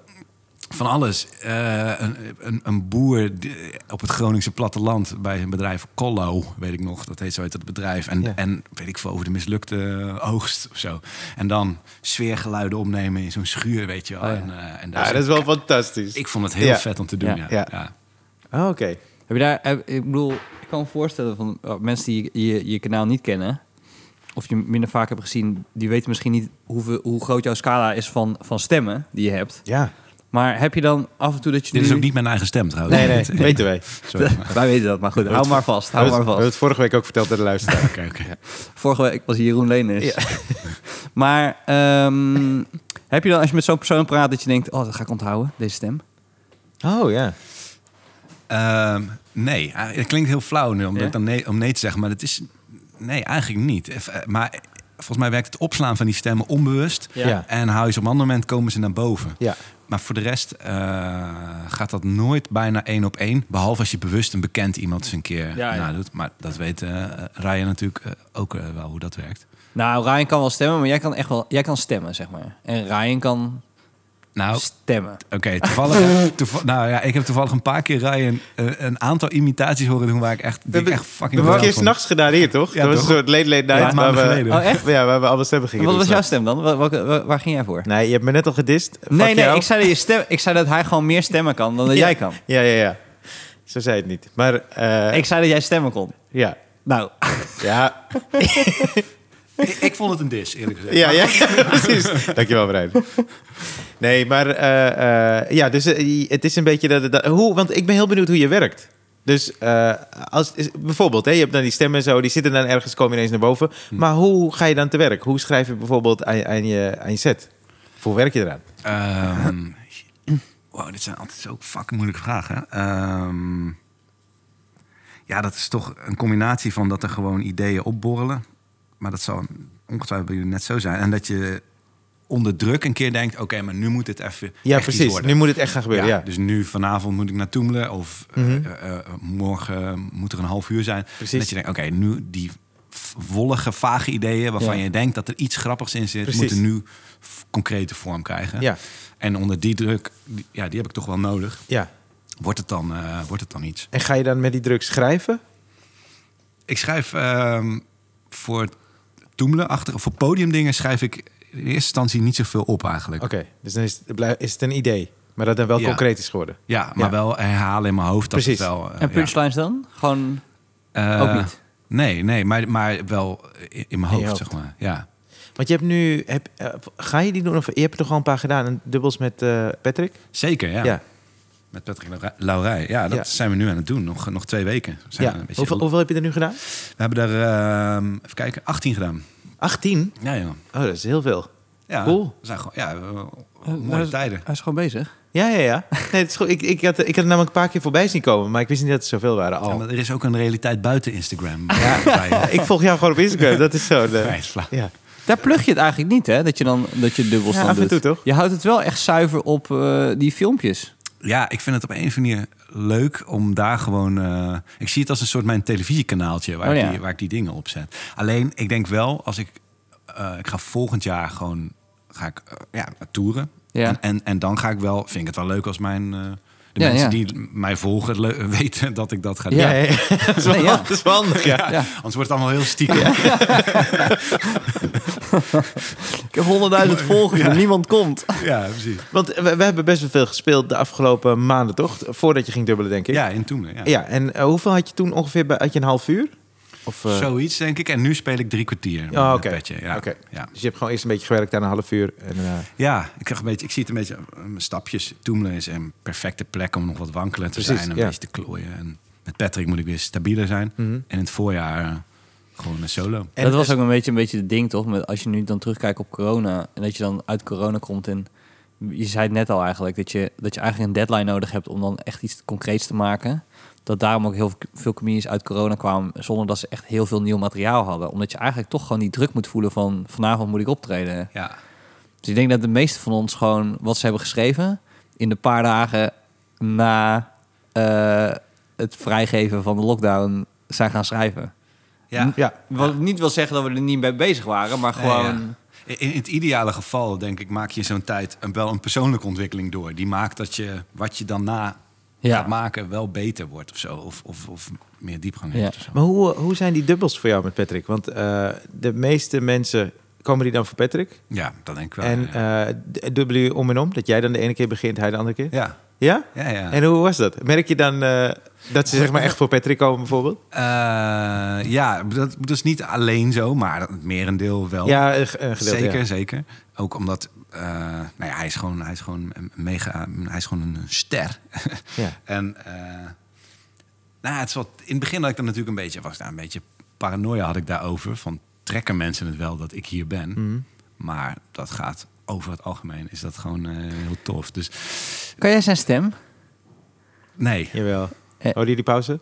C: van alles. Eh, een, een, een boer die- op het Groningse platteland bij zijn bedrijf Collo, weet ik nog. Dat heet zo heet dat bedrijf. En,
A: Ja.
C: en weet ik veel over de mislukte oogst of zo. En dan sfeergeluiden opnemen in zo'n schuur, weet je wel. En, eh,
A: Oh
C: en daar
A: Ja,
C: zit-
A: dat is wel fantastisch.
C: Ik vond het heel
A: Ja.
C: vet om te
B: Ja.
C: doen, ja.
A: Ja.
C: Ja.
A: Ah, oké.
B: Heb je daar, heb- ik bedoel, ik kan me voorstellen van oh, mensen die je, je, je kanaal niet kennen, of je minder vaak hebt gezien, die weten misschien niet hoeveel, hoe groot jouw scala is van, van stemmen die je hebt.
A: Ja.
B: Maar heb je dan af en toe dat je.
C: Dit
B: nu-
C: is ook niet mijn eigen stem trouwens.
A: Mm. Nee, nee,
C: Dit-
A: weten wij.
C: Sorry. Oké,
B: Wij weten dat, maar goed, hou maar vast. Hou
A: we
B: maar
A: hebben
B: vast.
A: het vorige week ook verteld aan de luisteraar.
C: oké.
B: Vorige week was hier Jeroen Leners. maar ehm, heb je dan, als je met zo'n persoon praat, dat je denkt, oh, dat ga ik onthouden, deze stem?
A: Oh, ja.
C: Ehm, nee, Ah, het klinkt heel flauw nu omdat
B: Ja?
C: ik dan nee, om nee te zeggen, maar het is nee, eigenlijk niet. Eff- eh, Maar volgens mij werkt het opslaan van die stemmen onbewust.
A: Ja. Ja.
C: En hou je ze op een ander moment komen ze naar boven.
A: Ja.
C: Maar voor de rest eh, gaat dat nooit bijna één op één. Behalve als je bewust een bekend iemand eens een keer
B: Ja, ja.
C: nadoet. Maar dat weet eh Ryan natuurlijk eh, ook eh, wel hoe dat werkt.
B: Nou, Ryan kan wel stemmen, maar jij kan echt wel, jij kan stemmen, zeg maar. En Ryan kan
C: Nou,
B: stemmen.
C: Oké, toevallig. toeva- nou ja, ik heb toevallig een paar keer Ryan eh, een aantal imitaties horen doen waar ik echt, die ik echt fucking
A: We hebben een
C: briljant
A: keer
C: vond.
A: s'nachts gedaan hier, toch?
C: Ja,
A: dat was
C: toch?
A: een soort late late night.
C: Ja,
A: waar
C: maanden
A: we,
C: geleden.
B: Oh, echt?
A: Ja, waar we alle stemmen gingen
B: Wat
A: doen
B: was jouw
A: s'nachts.
B: stem dan? Wa- welke- wa- waar ging jij voor?
A: Nee, je hebt me net al gedist. Fuck
B: Nee, nee,
A: jou.
B: ik zei, dat je stem, ik zei dat hij gewoon meer stemmen kan dan dat
A: Ja.
B: jij kan.
A: Ja, ja, ja. Zo zei het niet. Maar, eh,
B: Ik zei dat jij stemmen kon.
A: ja.
B: Nou,
A: Ja,
C: Ik, ik vond het een dis, eerlijk gezegd.
A: ja, ja, precies. Dankjewel, Brian. Nee, maar eh, eh, ja, dus eh, het is een beetje dat, dat- hoe, want ik ben heel benieuwd hoe je werkt. Dus eh, als, is- bijvoorbeeld, hè, je hebt dan die stemmen en zo, die zitten dan ergens, komen ineens naar boven. Maar hoe ga je dan te werk? Hoe schrijf je bijvoorbeeld aan, aan, je, aan je set? Hoe werk je eraan?
C: Ehm, wow, dit zijn altijd zo fucking moeilijke vragen. Ehm, ja, dat is toch een combinatie van dat er gewoon ideeën opborrelen. Maar dat zal ongetwijfeld bij jullie net zo zijn. En dat je onder druk een keer denkt... oké, maar nu moet het even
A: Ja,
C: echt iets
A: precies.
C: worden.
A: Nu moet het echt gaan gebeuren, ja. Mhm.
C: Dus nu vanavond moet ik naar Toemelen of eh, eh, eh, morgen moet er een half uur zijn.
A: Precies.
C: Dat je denkt, oké, nu die v- wollige, vage ideeën waarvan
B: Ja.
C: je denkt dat er iets grappigs in zit,
A: Precies.
C: moeten nu f- concrete vorm krijgen.
A: Ja.
C: En onder die druk, die- ja, die heb ik toch wel nodig.
A: ja.
C: Wordt het dan, eh, wordt het dan iets?
A: En ga je dan met die druk schrijven?
C: Ik schrijf ehm, voor Toemelen achter, voor podiumdingen schrijf ik in eerste instantie niet zoveel op eigenlijk.
A: Oké, dus dan is het, blij- is het een idee, maar dat dan wel
C: Ja.
A: concreet is geworden.
C: Ja, maar
A: Ja.
C: wel herhalen in mijn hoofd. Dat
A: Precies.
C: Het wel, eh,
B: en
C: ja.
B: punchlines dan? Gewoon,
C: Eh,
B: Ook niet?
C: Nee, nee maar, maar wel in, in mijn
A: In
C: hoofd,
A: je hoofd.
C: zeg maar. Ja.
A: Want je hebt nu, heb, eh, ga je die doen? Of je hebt er toch al een paar gedaan, een dubbels met eh, Patrick?
C: Zeker, ja.
A: ja.
C: Met Patrick Laura- Laurij. Ja, dat
A: Ja.
C: zijn we nu aan het doen. Nog, nog twee weken. Zijn
A: Ja.
C: we, een beetje-
A: Hoeveel, hoeveel heb je er nu gedaan?
C: we hebben er, ehm, even kijken, 18 gedaan.
A: 18?
C: Ja, joh.
A: Oh, dat is heel veel.
C: Ja,
A: Cool.
C: we zijn gewoon, ja, we- mooie tijden.
B: Nou, Hij is gewoon bezig.
A: Ja, ja, ja. Nee, het is goed. Ik, ik, had, ik had er namelijk een paar keer voorbij zien komen, maar ik wist niet dat er zoveel waren
C: Ja,
A: al.
C: maar er is ook een realiteit buiten Instagram. Ja,
A: Ik volg jou gewoon op Instagram, dat is zo. De,
C: Nee, is flauw.
A: ja.
B: Daar plug je het eigenlijk niet, hè? Dat je dan dat je dubbel
A: Ja,
B: staat.
A: af en toe toch?
B: Je houdt het wel echt zuiver op eh, die filmpjes.
C: ja, ik vind het op een of andere manier leuk om daar gewoon... eh, ik zie het als een soort mijn televisiekanaaltje waar,
B: Oh,
C: ik
B: ja.
C: die, waar ik die dingen op zet. Alleen, ik denk wel, als ik... eh, ik ga volgend jaar gewoon ga ik, eh, ja, toeren.
B: Ja.
C: En, en, en dan ga ik wel... Vind ik het wel leuk als mijn... eh, de
B: Ja,
C: mensen
B: ja.
C: die mij volgen het leu- weten dat ik dat ga doen.
A: Ja, ja, ja. dat, is wel,
B: Nee, ja.
A: dat is wel handig, ja.
C: Ja, Anders wordt het allemaal heel stiekem.
B: Ik heb 100.000 volgers, maar niemand komt.
C: Ja, precies.
A: Want we, we hebben best wel veel gespeeld de afgelopen maanden, toch? Voordat je ging dubbelen, denk ik.
C: Ja, in Toemelen. Ja.
A: Ja, en eh, hoeveel had je toen ongeveer? Bij, had je een half uur? Of, eh,
C: Zoiets, denk ik. En nu speel ik drie kwartier. met
A: Oh,
C: een
A: oké.
C: petje. Ja.
A: Oké.
C: Ja.
A: Dus je hebt gewoon eerst een beetje gewerkt aan een half uur. En, eh,
C: ja, ik, krijg een beetje, ik zie het een beetje eh, mijn stapjes. Toemelen is een perfecte plek om nog wat wankelend te
A: Precies,
C: zijn. Een
A: ja. Mhm.
C: beetje te klooien. En met Patrick moet ik weer stabieler zijn. En in het voorjaar eh, gewoon een solo.
A: En
B: dat was
A: het-
B: ook een beetje, een beetje het ding, toch? Met, als je nu dan terugkijkt op corona en dat je dan uit corona komt en je zei het net al eigenlijk, dat je, dat je eigenlijk een deadline nodig hebt om dan echt iets concreets te maken. Dat daarom ook heel veel comedians uit corona kwamen zonder dat ze echt heel veel nieuw materiaal hadden. Omdat je eigenlijk toch gewoon die druk moet voelen van vanavond moet ik optreden.
C: Ja,
B: Dus ik denk dat de meesten van ons gewoon wat ze hebben geschreven in de paar dagen na eh, het vrijgeven van de lockdown zijn gaan schrijven.
C: ja.
A: ja.
B: Wat niet wil zeggen dat we er niet mee bezig waren, maar
C: Nee,
B: gewoon...
C: ja. in, in het ideale geval, denk ik, maak je in zo'n tijd een, wel een persoonlijke ontwikkeling door. Die maakt dat je wat je dan na
B: Ja.
C: gaat maken wel beter wordt of zo. Of, of, of meer diepgang
B: Ja.
C: heeft. of zo.
A: Maar hoe, eh, hoe zijn die dubbels voor jou met Patrick? Want eh, de meeste mensen komen die dan voor Patrick.
C: Ja, dat denk ik wel.
A: en
C: ja.
A: eh, d- dubbelen jullie om en om? Dat jij dan de ene keer begint, hij de andere keer?
C: ja.
A: Ja?
C: Ja, ja.
A: En hoe was dat? Merk je dan eh, dat ze zeg maar echt voor Patrick komen bijvoorbeeld?
C: Eh, ja, dat, dat is niet alleen zo, maar het merendeel wel.
A: Ja, een ge- een gedeelte.
C: zeker,
A: ja.
C: zeker. Ook omdat eh, nou ja, hij is gewoon, hij is gewoon een mega, hij is gewoon een ster.
A: Ja.
C: en eh, nou, het is wat, in het begin had ik dan natuurlijk een beetje, was ik daar een beetje paranoia had ik daarover van trekken mensen het wel dat ik hier ben,
A: Mhm.
C: maar dat gaat over het algemeen is dat gewoon eh, heel tof. Dus
B: Kan jij zijn stem?
C: nee,
A: Jawel.
B: Eh.
A: Hoorde je die pauze?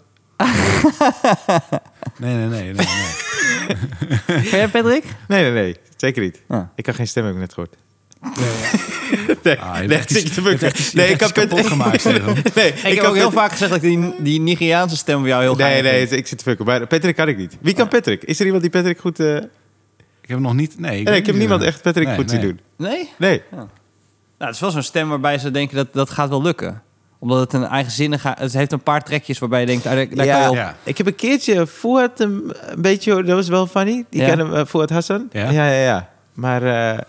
C: nee, nee, nee, nee, nee.
B: Kan jij Patrick?
A: Nee, nee, nee. Zeker niet.
B: Ah.
A: Ik kan geen stem, heb ik net gehoord.
C: Ah, je
A: Nee,
C: hebt echt
A: nee,
C: iets-
A: zit je te
C: je hebt
A: bukken.
C: echt iets- je
A: Nee,
C: hebt
A: ik kan
C: echt iets kapot
A: Patrick-
C: gemaakt, Steven.
A: Nee,
B: Ik, heb ook heel vaak gezegd dat ik die, die Nigeriaanse stem van jou heel
A: Nee,
B: gaaf
A: nee,
B: vind.
A: ik zit te fucken. Maar Patrick kan ik niet. Wie kan Patrick? Is er iemand die Patrick goed... eh,
C: Ik heb nog niet, nee.
A: Nee, ik heb
C: weet
A: niemand
C: niet.
A: echt Patrick
C: Nee,
A: goed zien
C: nee.
A: doen.
B: Nee?
A: Nee.
B: Nou, het is wel zo'n stem waarbij ze denken dat dat gaat wel lukken. Omdat het een eigenzinnige... Het heeft een paar trekjes waarbij je denkt... ah, daar, daar kan je op.
C: ja.
A: Ik heb een keertje Fuad een, een beetje, dat was wel funny. Die
B: Ja.
A: kennen hem, eh, Fuad Hassan.
C: Ja?
A: ja, ja. ja. Maar eh,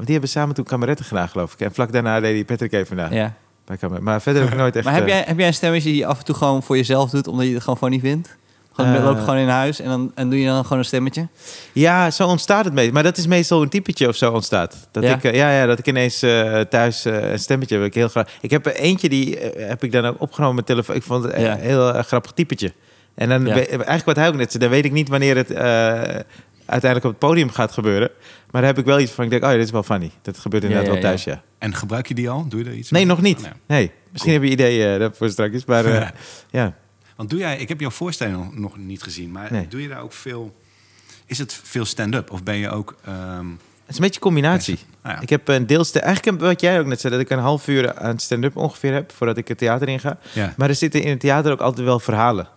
A: die hebben samen toen kameretten gedaan, geloof ik. En vlak daarna deed hij Patrick even na.
B: Ja.
A: Bij Kamer- Maar verder heb ik nooit echt...
B: Maar heb
A: eh,
B: jij, heb jij een stemmetje die je af en toe gewoon voor jezelf doet... omdat je het gewoon funny vindt? Gewoon,
A: Eh.
B: loop je gewoon in huis en dan en doe je dan gewoon een stemmetje?
A: Ja, zo ontstaat het meestal. Maar dat is meestal een typetje of zo ontstaat. Dat
B: Ja?
A: ik, eh, ja, ja, dat ik ineens eh, thuis eh, een stemmetje heb. Ik, heel graag. ik heb er eentje, die eh, heb ik dan ook opgenomen met telefoon. Ik vond het een
B: Ja.
A: heel eh, grappig typetje. En dan,
B: Ja.
A: we- eigenlijk wat hij ook net zei, dan weet ik niet wanneer het eh, uiteindelijk op het podium gaat gebeuren. Maar daar heb ik wel iets van, ik denk, oh ja, dit is wel funny. Dat gebeurt inderdaad
B: ja,
A: wel thuis, ja.
C: En gebruik je die al? Doe je er iets
A: Nee,
C: mee? Oh,
A: nog niet.
C: Nee.
A: Nee, misschien heb je ideeën eh, daarvoor straks. Maar eh,
C: Ja.
A: ja.
C: Want doe jij, ik heb jouw voorstelling nog- nog niet gezien, maar
A: Nee.
C: doe je daar ook veel, is het veel stand-up? Of ben je ook, ehm,
A: Het is een beetje een combinatie.
C: Ah, ja.
A: Ik heb een deels... Eigenlijk heb- wat jij ook net zei, dat ik een half uur aan stand-up ongeveer heb... voordat ik het theater inga.
C: Ja.
A: Maar er zitten in het theater ook altijd wel verhalen.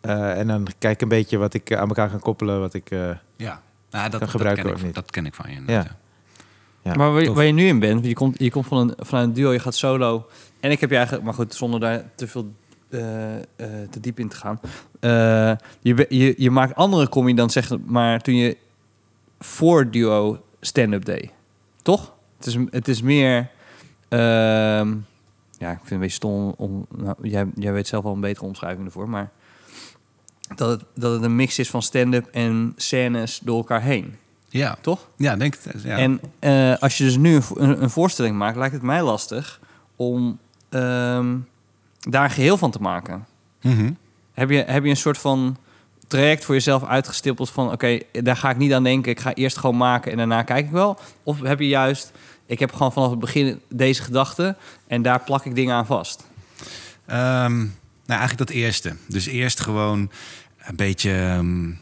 A: Eh, en dan kijk ik een beetje wat ik eh, aan elkaar kan koppelen. Wat ik, eh,
C: ja, nou, dat,
A: Dat
C: dat,
A: gebruiken
C: ken
A: we
C: ik,
A: niet.
C: dat ken ik van je.
A: Ja.
C: inderdaad, ja.
A: Ja,
B: maar waar,
C: tof.
B: waar je nu in bent, want je komt, je komt van, een, van een duo, je gaat solo. En ik heb je eigenlijk, maar goed, zonder daar te veel eh, eh, te diep in te gaan. eh, je, be- je, je maakt andere comedy dan zeg maar toen je voor duo stand-up deed. Toch? Het is, het is meer. ehm, ja, ik vind het een beetje stom om. Nou, jij, jij weet zelf wel een betere omschrijving ervoor, maar. Dat het, dat het een mix is van stand-up en scènes door elkaar heen.
C: Ja.
B: Toch?
C: Ja, denk het. Ja.
B: En eh, als je dus nu een, vo- een, een voorstelling maakt, lijkt het mij lastig om ehm, daar geheel van te maken.
C: Mhm.
B: Heb je, heb je een soort van traject voor jezelf uitgestippeld van... oké, daar ga ik niet aan denken, ik ga eerst gewoon maken en daarna kijk ik wel? Of heb je juist, ik heb gewoon vanaf het begin deze gedachte... en daar plak ik dingen aan vast?
C: Ehm, nou, eigenlijk dat eerste. Dus eerst gewoon een beetje... ehm,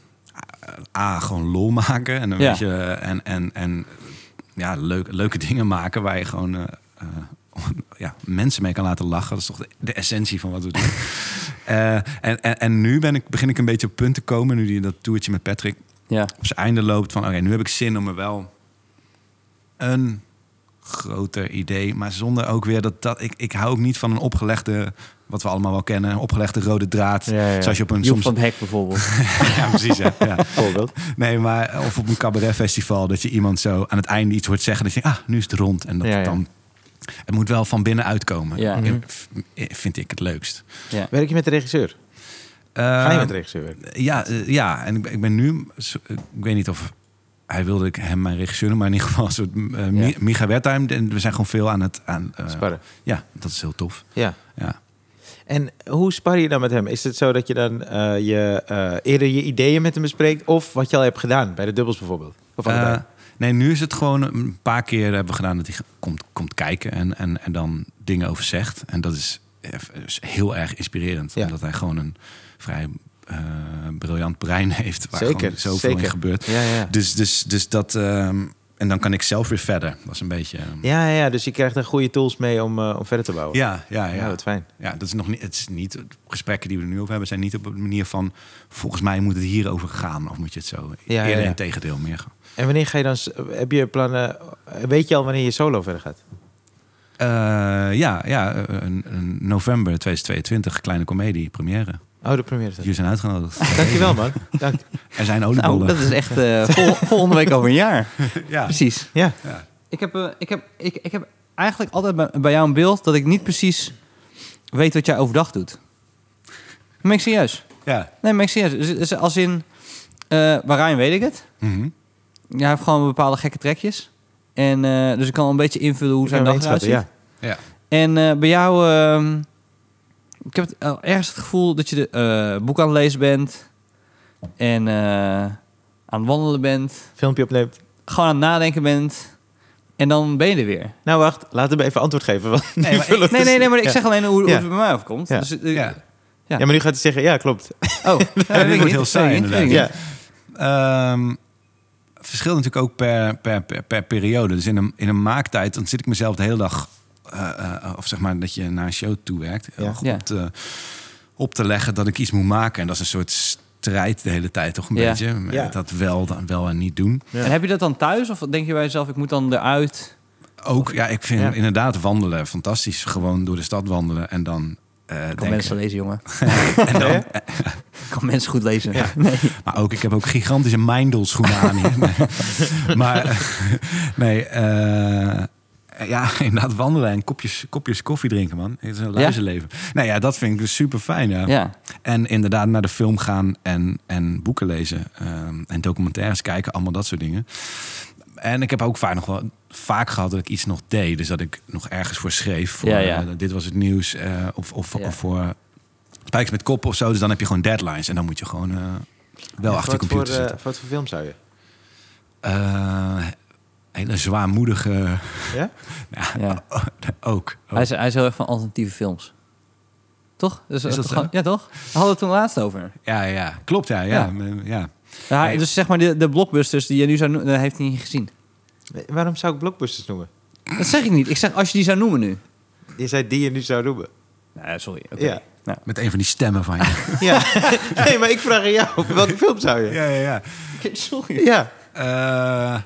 C: A, gewoon lol maken. En een
B: Ja.
C: beetje... eh, En, en, en ja, leuk, leuke dingen maken waar je gewoon... eh, eh, ja, mensen mee kan laten lachen. Dat is toch de, de essentie van wat we doen. Eh, en, en, en nu ben ik, begin ik een beetje op punt te komen... nu die dat toertje met Patrick
B: Ja.
C: op zijn einde loopt... van oké, nu heb ik zin om er wel een groter idee. Maar zonder ook weer dat... dat ik, ik hou ook niet van een opgelegde... wat we allemaal wel kennen, een opgelegde rode draad.
A: Ja, ja.
C: Zoals je op een...
B: Joep
C: Soms,
B: van het Hek bijvoorbeeld.
C: ja, precies. hè, ja.
A: bijvoorbeeld.
C: Nee, maar of op een cabaretfestival... dat je iemand zo aan het einde iets hoort zeggen... dat je denkt, ah, nu is het rond. En dat
A: Ja,
C: het
A: ja. Mhm.
C: dan... Het moet wel van binnen uitkomen.
B: Ja.
C: In- v- Vind ik het leukst.
B: ja.
A: Werk je met de regisseur? Ga je
C: Eh,
A: met de regisseur werken?
C: ja, eh, ja, en ik, ben- ik ben nu... zo- eh, Ik weet niet of... Hij wilde ik hem mijn regisseur noemen, maar in ieder geval een soort eh, Mi-
B: Ja.
C: Micha Wertheim. En We zijn gewoon veel aan het... Aan, eh,
A: Sparren.
C: ja, dat is heel tof.
A: Ja.
C: Ja.
A: En hoe spar je dan met hem? Is het zo dat je dan eh, je, eh, eerder je ideeën met hem bespreekt... of wat je al hebt gedaan, bij de dubbels bijvoorbeeld? Of
C: Eh,
A: allebei?
C: nee, nu is het gewoon eh, een paar keer hebben we gedaan dat hij ge- komt, komt kijken en, en, en dan dingen over zegt. En dat is, eh, is heel erg inspirerend.
A: Ja.
C: Omdat hij gewoon een vrij eh, briljant brein heeft. Waar
A: Zeker,
C: gewoon zoveel
A: zeker.
C: in gebeurt.
A: Ja, ja.
C: Dus, dus, dus dat. ehm, en dan kan ik zelf weer verder. Dat is een beetje... eh,
A: Ja, ja, ja, dus je krijgt er goede tools mee om, eh, om verder te bouwen.
C: Ja, ja, ja.
A: Ja, dat is fijn.
C: Ja, dat is nog niet, het is niet. de Gesprekken die we er nu over hebben zijn niet op een manier van. Volgens mij moet het hierover gaan. Of moet je het zo.
A: ja,
C: eerder
A: ja.
C: in tegendeel meer gaan.
A: En wanneer ga je dan... s- Heb je plannen... Weet je al wanneer je solo verder gaat?
C: Eh, ja, ja eh, een, een november 2022, kleine komedie, première.
A: Oh, de première staat.
C: Jullie zijn uitgenodigd.
A: Dankjewel, man. Dank.
C: Er zijn
B: Nou,
C: oliebollen.
B: dat is echt eh, vol- volgende week over een jaar.
C: ja.
B: Precies.
A: Ja.
B: Ik heb, eh, ik, heb, ik, ik heb eigenlijk altijd bij, bij jou een beeld dat ik niet precies weet wat jij overdag doet. Maar ik serieus.
C: ja.
B: Nee, maar ik serieus. Dus- dus Als in, eh bij Ryan weet ik het.
C: Mhm.
B: Jij heeft gewoon bepaalde gekke trekjes. En, eh, dus ik kan al een beetje invullen hoe zijn
A: Ik kan
B: dag
A: hem
B: eruit
A: inschatten,
B: ziet.
A: ja.
C: ja.
B: En eh, bij jou, ehm, ik heb het, eh, ergens het gevoel dat je de eh, boek aan het lezen bent. En eh, aan het wandelen bent.
A: Filmpje opneemt.
B: Gewoon aan het nadenken bent. En dan ben je er weer.
A: Nou, wacht. Laten we even antwoord geven. want nu
C: maar ik-
A: vullen we-
B: Nee, nee, nee, maar ik
A: Ja.
B: zeg alleen hoe, hoe
A: Ja.
B: het bij mij overkomt.
A: Ja.
B: Dus, eh,
C: ja.
A: Ja, maar nu gaat hij zeggen... Ja, klopt.
B: Oh, dat weet ik
C: wordt
B: niet,
C: heel
B: weet
C: saai
B: ik niet, weet ik
A: Ja.
B: niet.
C: Ehm, verschilt natuurlijk ook per, per, per, per periode. Dus in een, in een maaktijd, dan zit ik mezelf de hele dag... eh, eh, of zeg maar dat je naar een show toe werkt. heel
A: Ja.
C: erg
B: Ja.
C: Op, te, op te leggen dat ik iets moet maken. En dat is een soort strijd de hele tijd toch een
B: Ja.
C: beetje. Met
A: Ja.
C: Dat wel, dan wel en niet doen.
A: Ja.
B: En heb je dat dan thuis? Of denk je bij jezelf, ik moet dan eruit?
C: Ook, ja, ik vind
A: Ja.
C: inderdaad wandelen fantastisch. Gewoon door de stad wandelen en dan... eh,
B: Ik kan
C: denken.
B: mensen lezen, jongen.
C: En dan-
B: Ik kan mensen goed lezen.
C: Ja.
B: Nee.
C: Maar ook, ik heb ook gigantische Mindel schoenen aan hier. Nee. maar eh, nee, eh, ja, inderdaad wandelen en kopjes, kopjes koffie drinken, man. Het is een luizenleven. Nou ja, dat vind ik dus super fijn, ja.
B: Ja.
C: En inderdaad naar de film gaan en, en boeken lezen ehm, en documentaires kijken, allemaal dat soort dingen. En ik heb ook vaak nog wel vaak gehad dat ik iets nog deed, dus dat ik nog ergens voor schreef. Voor,
B: Ja, ja.
C: eh, dit was het nieuws eh, of, of,
B: Ja.
C: of voor spijkers met kop of zo. Dus dan heb je gewoon deadlines en dan moet je gewoon eh, wel
A: Ja,
C: achter je
A: wat
C: computer
A: voor, eh,
C: zitten.
A: wat voor film zou je?
C: Eh, hele zwaarmoedige.
A: Ja?
C: Ja,
B: Ja.
C: ook. ook.
B: Hij, is, hij is heel erg van alternatieve films. Toch? Dus,
C: Is dat
B: gewoon-
C: zo?
B: ja, toch? We hadden het toen laatst over.
C: Ja, ja, klopt. Ja, ja. ja.
B: Ja,
C: Nee.
B: Dus zeg maar, de, de blockbusters die je nu zou noemen, dat heeft hij niet gezien.
A: Nee, Waarom zou ik blockbusters noemen?
B: Dat zeg ik niet. Ik zeg, als je die zou noemen nu.
A: Je zei die je nu zou noemen.
B: Nou, sorry. oké.
A: Ja.
B: Nou.
C: Met een van die stemmen van je.
A: Ja. nee, maar ik vraag aan jou. Welke film zou je?
C: ja, ja, ja.
B: Sorry.
A: Ja.
C: Eh,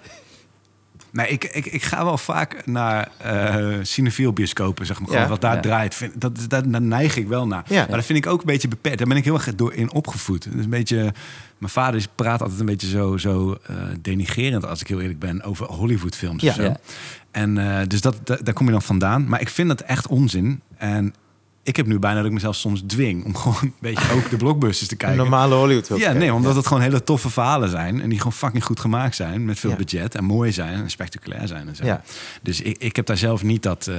C: nee, ik, ik, ik ga wel vaak naar eh cinefiel bioscopen, zeg maar. Gewoon
A: Ja.
C: wat daar
B: Ja.
C: draait. Vind, dat, dat, daar neig ik wel naar.
A: Ja.
C: Maar dat vind ik ook een beetje beperkt. Daar ben ik heel erg door in opgevoed. Dat is een beetje, mijn vader is- praat altijd een beetje zo, zo eh, denigerend, als ik heel eerlijk ben, over Hollywoodfilms
A: Ja.
C: of zo.
B: Ja.
C: En eh, dus dat, da- daar kom je dan vandaan. Maar ik vind dat echt onzin. En ik heb nu bijna dat ik mezelf soms dwing om gewoon een beetje ook de blockbusters te
A: Een
C: kijken.
A: normale Hollywood film.
C: Ja, nee, omdat het gewoon hele toffe verhalen zijn. En die gewoon fucking goed gemaakt zijn. Met veel
A: Ja.
C: budget. En mooi zijn. En spectaculair zijn. En zo.
A: Ja.
C: Dus ik, ik heb daar zelf niet dat. eh,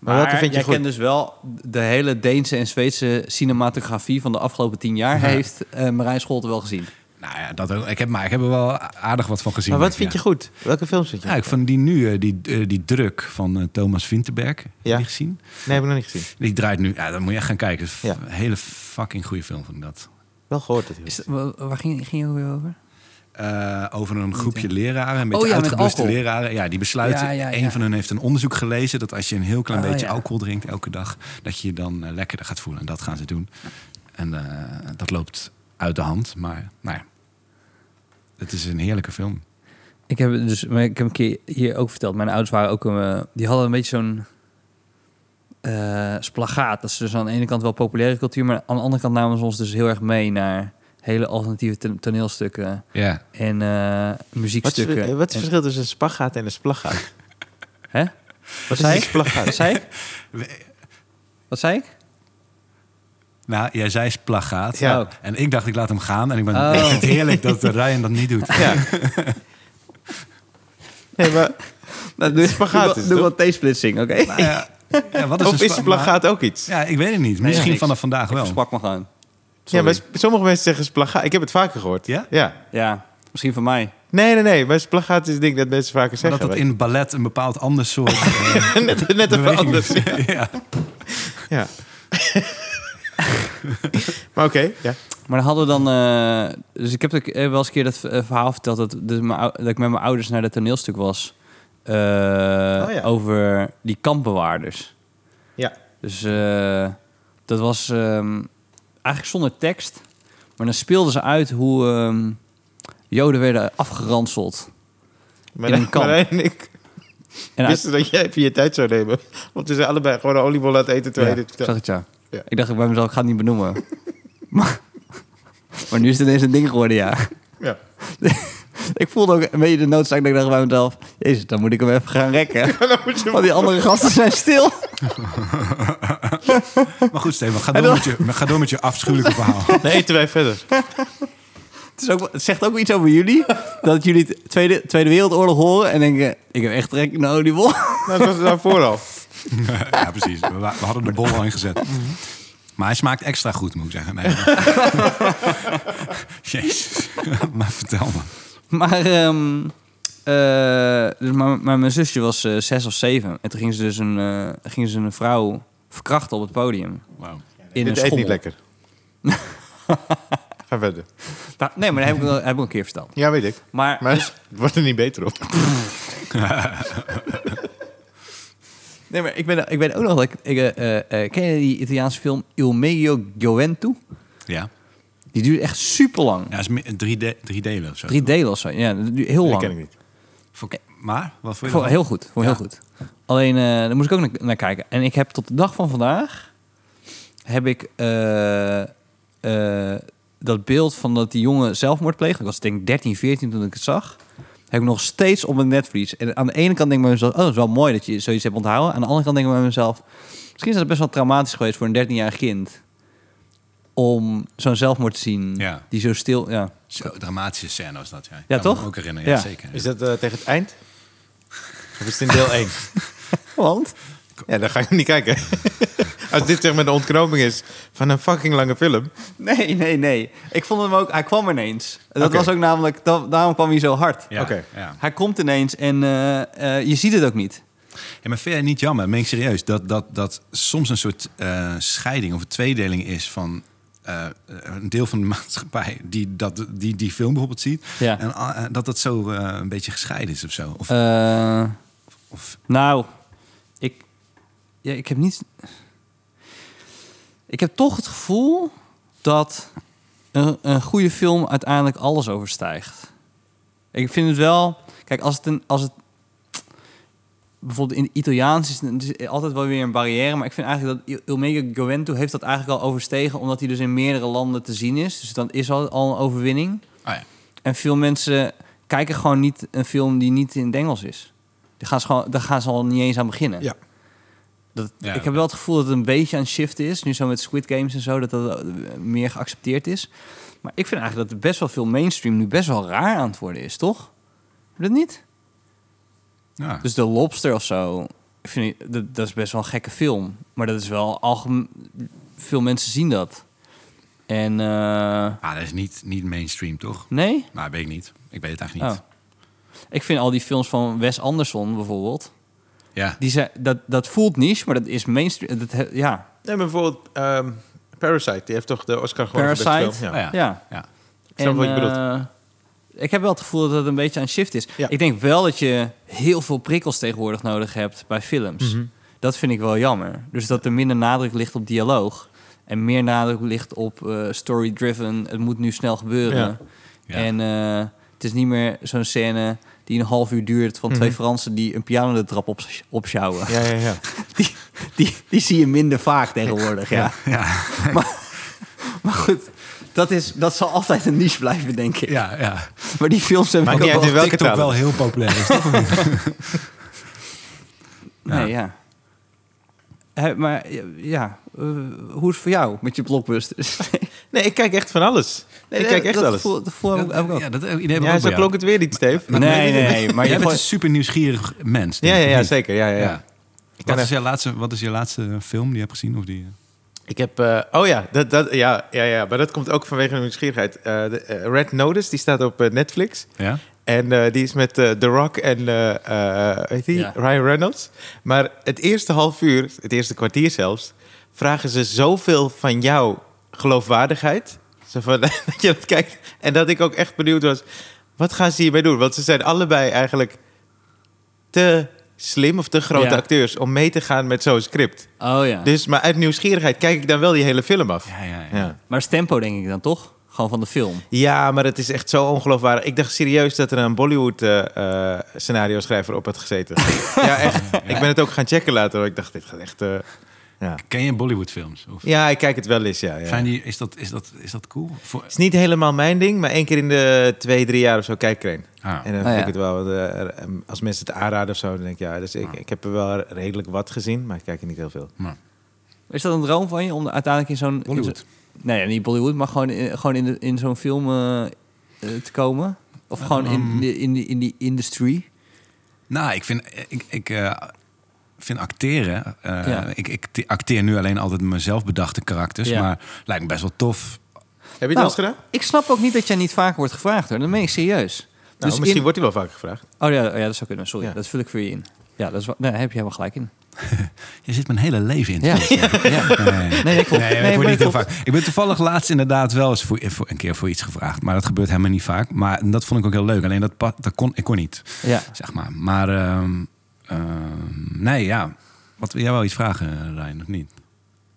A: Maar welke vind je
B: jij
A: goed?
B: kent dus wel de hele Deense en Zweedse cinematografie van de afgelopen tien jaar. Heeft eh Marijn Scholten wel gezien.
C: nou ja, dat ook. Ik heb, maar ik heb er wel aardig wat van gezien.
A: Maar wat
C: denk
A: vind
C: ik,
A: je
C: ja.
A: goed? Welke films vind je
C: Ja, ik
A: goed?
C: vond die nu, eh, die, eh, die druk van eh, Thomas Vinterberg. Heb je
A: Ja.
C: die gezien?
A: Nee, heb ik nog niet gezien.
C: Die draait nu. Ja, dan moet je echt gaan kijken. Dat is
A: Ja.
C: Een hele fucking goede film vond ik dat.
A: Wel gehoord dat
B: Is, wa- waar ging, ging je ook weer over?
C: Eh, over een groepje leraren, een beetje
B: Oh ja, met
C: uitgebuste
B: alcohol.
C: leraren. Ja, die besluiten.
B: Ja, ja, ja.
C: Een van hun heeft een onderzoek gelezen dat als je een heel klein
B: Oh,
C: beetje
B: ja.
C: alcohol drinkt elke dag, dat je je dan eh, lekkerder gaat voelen. En dat gaan ze doen. En eh, dat loopt uit de hand. Maar nou ja, het is een heerlijke film.
B: Ik heb het dus, maar ik heb een keer hier ook verteld. Mijn ouders waren ook, eh, die hadden een beetje zo'n eh splagaat. Dat is dus aan de ene kant wel populaire cultuur, maar aan de andere kant namen ze ons dus heel erg mee naar hele alternatieve to- toneelstukken
C: Ja.
B: en eh,
A: Wat is,
B: muziekstukken.
A: eh, wat is het
B: en,
A: verschil tussen een spagaat en een splagaat?
B: hè?
A: Wat is
B: zei
A: een
B: ik?
A: splagaat?
B: Wat zei ik? Wat zei ik?
C: Nou, jij zei plagaat.
A: Ja.
B: Oh.
C: En ik dacht, ik laat hem gaan. En ik, ben,
B: Oh.
C: ik vind het heerlijk dat eh, Ryan dat niet doet.
A: Ja. Nee, maar...
B: Nou, doe,
A: Spagaat is het,
B: doe
A: toch?
B: wel T-splitsing, oké?
C: Nou ja, ja, wat is
A: Of
C: een
A: is
C: spa-
A: een plagaat ook iets?
C: Ja, ik weet het niet. Misschien
B: niks.
C: vanaf vandaag
B: Ik
C: wel.
B: sprak me gewoon.
A: Ja,
B: Sorry.
A: maar sp- sommige mensen zeggen splagaat. Ik heb het vaker gehoord.
C: Ja?
A: Ja.
B: Ja, misschien van mij.
A: Nee, nee, nee. Maar splagaat is het ding dat mensen vaker
C: Maar dat
A: zeggen.
C: dat in ballet een bepaald ander soort... eh,
A: net, net even
C: beweging
A: anders.
C: is. ja.
A: Ja. maar oké, ja.
B: Maar dan hadden we dan... eh, dus ik heb ook, eh, wel eens een keer dat eh, verhaal verteld... Dat, dus mijn ou- dat ik met mijn ouders naar dat toneelstuk was... eh,
A: Oh ja.
B: over die kampbewaarders.
A: Ja.
B: Dus eh, dat was ehm, eigenlijk zonder tekst. Maar dan speelden ze uit hoe ehm, Joden werden afgeranseld.
A: Maar
B: In een kamp.
A: en ik
B: En uit-
A: wisten dat jij even je tijd zou nemen. Want we zijn allebei gewoon een oliebol aan het eten terwijl
B: Ja,
A: je dit
B: ik zag
A: vertelt.
B: het ja.
A: Ja.
B: Ik dacht bij mezelf, ik ga het niet benoemen. maar, maar nu is het ineens een ding geworden, ja.
A: Ja.
B: Ik voelde ook een beetje de noodzaak dat ik dacht bij mezelf... Jezus, dan moet ik hem even gaan rekken.
A: Dan moet je-
B: Want die andere gasten zijn stil.
C: Maar goed, Steven, ga door, met je, ga door met je afschuwelijke verhaal.
A: Dan eten wij verder.
B: Het, is ook, het zegt ook iets over jullie. Dat jullie de Tweede, Tweede Wereldoorlog horen en denken... Ik heb echt trek in een oliebol.
A: Nou, dat was het daarvoor al.
C: Ja, precies. We, wa- we hadden de bol al ingezet. Maar hij smaakt extra goed, moet ik zeggen. Nee. Jezus. Maar vertel me.
B: Maar, ehm, eh, dus maar, maar mijn zusje was eh, zes of zeven. En toen gingen ze dus een, eh, gingen ze een vrouw verkrachten op het podium.
C: Wauw.
B: In een
A: dit eet
B: schommel.
A: niet lekker. Ga verder.
B: Nou, nee, maar dat heb ik, wel- heb ik al een keer verteld.
A: Ja, weet ik.
B: Maar,
A: Maar het wordt er niet beter op.
B: nee, maar ik, ben, ik weet ook nog dat ik... ik eh, eh, eh, ken je die Italiaanse film Il Meglio Gioventù?
C: Ja.
B: Die duurt echt super lang.
C: Ja, is meer- drie, de- drie delen of zo.
B: Drie delen of zo. Ja, dat duurt heel
A: Dat
B: lang.
A: ken ik niet.
C: Voor- maar, wat voor
B: Voor, heel goed, voor heel goed. Alleen, eh, daar moest ik ook na- naar kijken. En ik heb tot de dag van vandaag... heb ik eh, eh, dat beeld van dat die jongen zelfmoord pleegde. Ik was denk ik 13, 14 toen ik het zag. Heb ik nog steeds op mijn netvlies. En aan de ene kant denk ik bij mezelf... oh, dat is wel mooi dat je zoiets hebt onthouden. Aan de andere kant denk ik bij mezelf... misschien is dat best wel traumatisch geweest voor een 13-jarig kind... om zo'n zelfmoord te zien
C: Ja.
B: die zo stil... Ja.
C: Zo, dramatische scène was dat. Ja, Ik
B: Ja,
C: kan me
B: toch?
C: ook herinneren, ja,
B: Ja.
C: zeker.
A: Is dat eh, tegen het eind? Of is het in deel 1?
B: Want?
A: Ja, dan ga ik niet kijken. Als dit zeg maar de ontknoping is van een fucking lange film.
B: Nee, nee, nee. Ik vond hem ook... Hij kwam ineens. Dat
A: Oké.
B: was ook namelijk... da- daarom kwam hij zo hard.
C: Ja,
A: Oké.
C: ja.
B: Hij komt ineens en eh, eh, je ziet het ook niet.
C: Ja, maar vind jij niet jammer, meen ik serieus, dat, dat, dat soms een soort eh, scheiding of een tweedeling is van eh, een deel van de maatschappij die dat, die, die film bijvoorbeeld ziet.
B: Ja.
C: En eh, dat dat zo eh, een beetje gescheiden is of zo. Of, of,
B: nou, ik... Ja, ik heb niet... Ik heb toch het gevoel dat een, een goede film uiteindelijk alles overstijgt. Ik vind het wel... Kijk, als het... Een, als het bijvoorbeeld in het Italiaans is het is altijd wel weer een barrière. Maar ik vind eigenlijk dat Il- Il Mega Govento heeft dat eigenlijk al overstegen... omdat hij dus in meerdere landen te zien is. Dus dan is al, al een overwinning.
C: oh ja.
B: En veel mensen kijken gewoon niet een film die niet in het Engels is. Daar gaan ze, gewoon, daar gaan ze al niet eens aan beginnen.
A: Ja.
B: Dat,
C: Ja,
B: ik
C: ja.
B: heb wel het gevoel dat het een beetje aan het shift is. Nu zo met Squid Games en zo, dat dat eh, meer geaccepteerd is. Maar ik vind eigenlijk dat er best wel veel mainstream nu best wel raar aan het worden is, toch? Vind je Dat niet?
C: Ja.
B: Dus de Lobster of zo, ik vind ik- dat, dat is best wel een gekke film. Maar dat is wel algemeen... Veel mensen zien dat. En... eh,
C: Ah, dat is niet, niet mainstream, toch?
B: nee?
C: Nou, weet ik niet. Ik weet het eigenlijk niet.
B: Oh. Ik vind al die films van Wes Anderson bijvoorbeeld.
C: Ja.
B: Die zijn, dat, dat voelt niche, maar dat is mainstream. Dat, he- ja.
A: Nee, maar bijvoorbeeld ehm, Parasite. Die heeft toch de Oscar gewonnen voor beste
B: Parasite?
A: film?
C: Oh, ja.
B: Ja.
C: Ja.
A: Ik snap wat je bedoelt.
B: eh, ik heb wel het gevoel dat het een beetje aan het shift is.
A: Ja.
B: Ik denk wel dat je heel veel prikkels tegenwoordig nodig hebt bij films.
A: Mhm.
B: Dat vind ik wel jammer. Dus dat er minder nadruk ligt op dialoog. En meer nadruk ligt op eh, story-driven. Het moet nu snel gebeuren.
C: Ja.
B: En eh, het is niet meer zo'n scène die een half uur duurt... van
A: Mhm.
B: twee Fransen die een piano de trap op, opsjouwen.
A: Ja, ja, ja.
B: die, die, die zie je minder vaak tegenwoordig, ja.
C: Ja.
B: Maar goed, dat, is, dat zal altijd een niche blijven, denk ik.
C: Ja, ja.
B: Maar die films hebben
A: Maakt
B: ook
A: niet uit in
B: wel...
A: welke
C: TikTok
A: taal.
C: wel heel populair is, toch?
B: Nee, ja. Hè, maar ja, ja, eh, hoe is het voor jou met je blockbusters?
A: Nee, ik kijk echt van alles. ik kijk echt
B: dat
A: alles.
B: Voel, dat voel ik ook.
C: ja, dat idee heb ik
A: Ja,
C: ook
A: zo
C: bij jou.
A: klonk het weer niet, Steve.
B: nee, nee, nee, maar
C: Jij
B: je
C: bent
B: gewoon-
C: een super nieuwsgierig mens.
A: Ja,
C: denk
A: ja,
C: ik,
A: ja,
C: niet?
A: zeker. Ja, ja, ja.
C: Ja.
A: kan
C: Wat is,
A: echt-
C: je laatste, wat is je laatste film die je hebt gezien? Of die,
A: Ik heb... eh, oh ja dat, dat, ja, ja, ja, maar dat komt ook vanwege mijn nieuwsgierigheid. Eh, de, eh, Red Notice, die staat op eh, Netflix.
C: ja?
A: En eh, die is met eh, The Rock en eh, eh, weet je,
B: Ja.
A: Ryan Reynolds. Maar het eerste half uur, het eerste kwartier zelfs, vragen ze zoveel van jouw geloofwaardigheid. Zo van, dat je dat kijkt. En dat ik ook echt benieuwd was, wat gaan ze hiermee doen? Want ze zijn allebei eigenlijk te slim of te grote
B: Ja.
A: acteurs om mee te gaan met zo'n script.
B: Oh ja.
A: Dus, maar uit nieuwsgierigheid kijk ik dan wel die hele film af.
C: Ja, ja, ja.
A: Ja.
B: Maar is tempo denk ik dan toch? Gewoon van de film.
A: Ja, maar het is echt zo ongeloofwaardig. Ik dacht serieus dat er een eh, Bollywood-scenario-schrijver op had gezeten. ja, echt. Ik ben het ook gaan checken later. hoor. Ik dacht, dit gaat echt... eh, ja.
C: Ken je Bollywood-films? Of-
A: ja, ik kijk het wel eens, ja. ja.
C: Zijn die, is, dat, is, dat, is dat cool? Voor,
A: Het is niet helemaal mijn ding, maar één keer in de twee, drie jaar of zo kijk ik er een.
C: Ah.
A: En dan
B: Ah,
A: vind
B: ja.
A: ik het wel, eh, eh, als mensen het aanraden of zo, dan denk ik, ja, dus ik, ik heb er wel redelijk wat gezien, maar ik kijk er niet heel veel.
C: maar,
B: Is dat een droom van je om uiteindelijk in zo'n... in
C: Bollywood.
B: zo'n- nee, niet Bollywood, maar gewoon in, gewoon in, de- in zo'n film eh, eh, te komen? Of gewoon in, de- in, die, in die industry?
C: nou, ik vind, ik, ik, eh, vind acteren... eh,
B: Ja.
C: ik, ik te- acteer nu alleen altijd mezelf bedachte karakters.
B: Ja.
C: Maar lijkt me best wel tof.
A: Heb je het
B: Nou,
A: wel eens gedaan?
B: Ik snap ook niet dat jij niet vaker wordt gevraagd hoor. Dan ben ik serieus.
A: Nou,
B: Dus
A: misschien
B: in-
A: wordt hij wel vaak gevraagd.
B: Oh ja, ja, dat zou kunnen. Sorry,
A: Ja.
B: dat vul ik voor je in. Ja, dat is, wa- nee, daar heb je helemaal gelijk in.
C: Je zit mijn hele leven in. te
B: Ja. ja.
C: Nee,
B: Nee, dat klopt.
C: Nee,
B: Nee,
C: ik word
B: maar
C: niet heel
B: dat
C: vaak. Ik ben toevallig laatst inderdaad wel eens voor, voor- een keer voor iets gevraagd. Maar dat gebeurt helemaal niet vaak. Maar en dat vond ik ook heel leuk. Alleen dat, pa- dat kon, ik kon niet,
B: Ja.
C: zeg maar. Maar ehm, ehm, nee, ja. Wat, wil jij wel iets vragen, Rijn, of niet?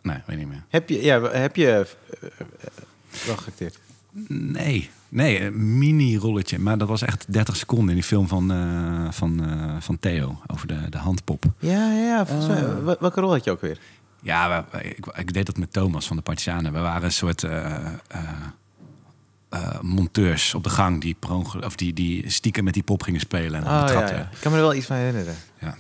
C: Nee, weet niet meer.
A: Heb je, ja, heb je eh, eh, eh, wel geacteerd?
C: Nee, nee, een mini-rolletje. Maar dat was echt 30 seconden in die film van, eh, van, eh, van Theo over de, de handpop.
A: Ja, ja, ja, volgens mij. Ah. Wel- Welke rol had je ook weer?
C: Ja, we- ik, ik deed dat met Thomas van de Partisanen. We waren een soort eh, eh, eh, monteurs op de gang die, per ongeluk- of die, die stiekem met die pop gingen spelen. En dan
A: Oh, ja,
C: betrapte.
A: ja. Ik kan me er wel iets van herinneren.
C: Ja.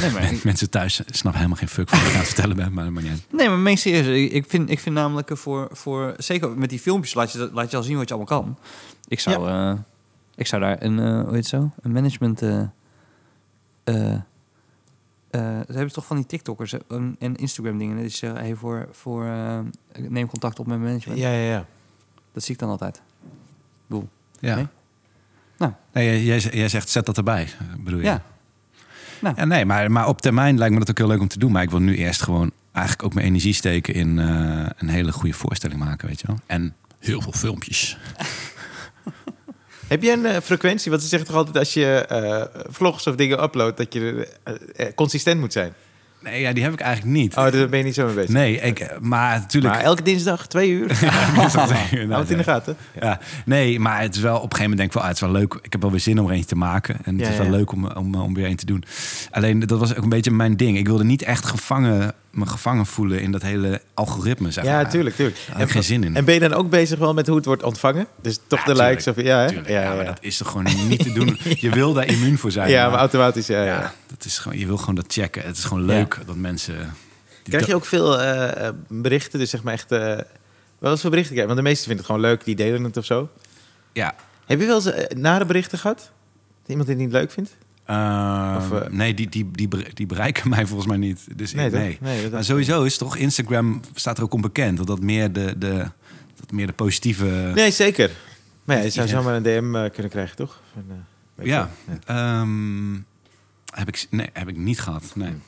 B: Nee, maar ik-
C: Mensen thuis snappen helemaal geen fuck van wat ik aan het vertellen ben, maar, maar niet.
B: Nee, maar meen ik serieus. Ik- Ik vind, ik vind namelijk eh, voor, voor... Zeker met die filmpjes laat je, dat- laat je al zien wat je allemaal kan. Ik zou, eh, ik zou daar een... eh, hoe heet het zo? Een management... eh eh, eh, ze hebben toch van die TikTokkers eh, en- en Instagram dingen. Dat is eh, hey, voor... voor eh, ik neem contact op met mijn management.
A: Ja, ja, ja.
B: Dat zie ik dan altijd. Boel.
C: Ja.
B: Nee? Nou.
C: Nee, jij- jij, zegt- jij zegt zet dat erbij, eh, bedoel je?
B: Ja.
C: Ja, nee, maar, maar op termijn lijkt me dat ook heel leuk om te doen. Maar ik wil nu eerst gewoon eigenlijk ook mijn energie steken in eh, een hele goede voorstelling maken, weet je wel. En heel veel filmpjes.
A: Heb jij een eh, frequentie? Want ze zeggen toch altijd als je eh, vlogs of dingen uploadt... dat je eh, eh, consistent moet zijn.
C: Nee, ja, die heb ik eigenlijk niet.
A: Oh, daar ben je niet zo mee bezig.
C: Nee, ik, maar natuurlijk...
A: Maar elke dinsdag, twee uur. Hou het in de gaten.
C: Ja, nee, maar het is wel op een gegeven moment denk ik wel, ah, het is wel leuk. Ik heb wel weer zin om er eentje te maken. En het
A: Ja,
C: is wel
A: ja.
C: leuk om, om, om weer een te doen. Alleen dat was ook een beetje mijn ding. Ik wilde niet echt gevangen, me gevangen voelen in dat hele algoritme. Zeg
A: Ja,
C: maar.
A: tuurlijk, tuurlijk.
C: Daar heb ik geen zin in.
A: En ben je dan ook bezig wel met hoe het wordt ontvangen? Dus toch de likes of... Ja, hè?
C: tuurlijk.
A: ja,
C: ja,
A: ja,
C: maar
A: ja.
C: dat is toch gewoon niet te doen. Je wil daar immuun voor zijn.
A: Ja, maar automatisch, ja, ja.
C: ja, dat is gewoon, je wil gewoon dat checken. Het is gewoon leuk dat mensen... die
A: Krijg je
C: dat-
A: ook veel eh, eh, berichten? Dus zeg maar echt... eh, wel eens veel berichten krijgen? Want de meesten vinden het gewoon leuk. Die delen het of zo.
C: Ja.
A: Heb je wel eens eh, nare berichten gehad? Dat iemand dit niet leuk vindt?
C: Eh,
A: Of, eh,
C: nee, die, die, die, bere- die bereiken mij volgens mij niet. Dus
A: Nee,
C: ik,
A: toch?
C: nee.
A: Nee, dat-
C: maar sowieso is toch Instagram staat er ook onbekend dat dat meer de, de, dat meer de positieve.
A: Nee, zeker. Maar ja, je zou
C: Ja.
A: zomaar een DM eh, kunnen krijgen, toch? Van, eh, weet je
C: ja,
A: wel.
C: Ehm, heb ik nee heb ik niet gehad. Nee.
A: Hmm.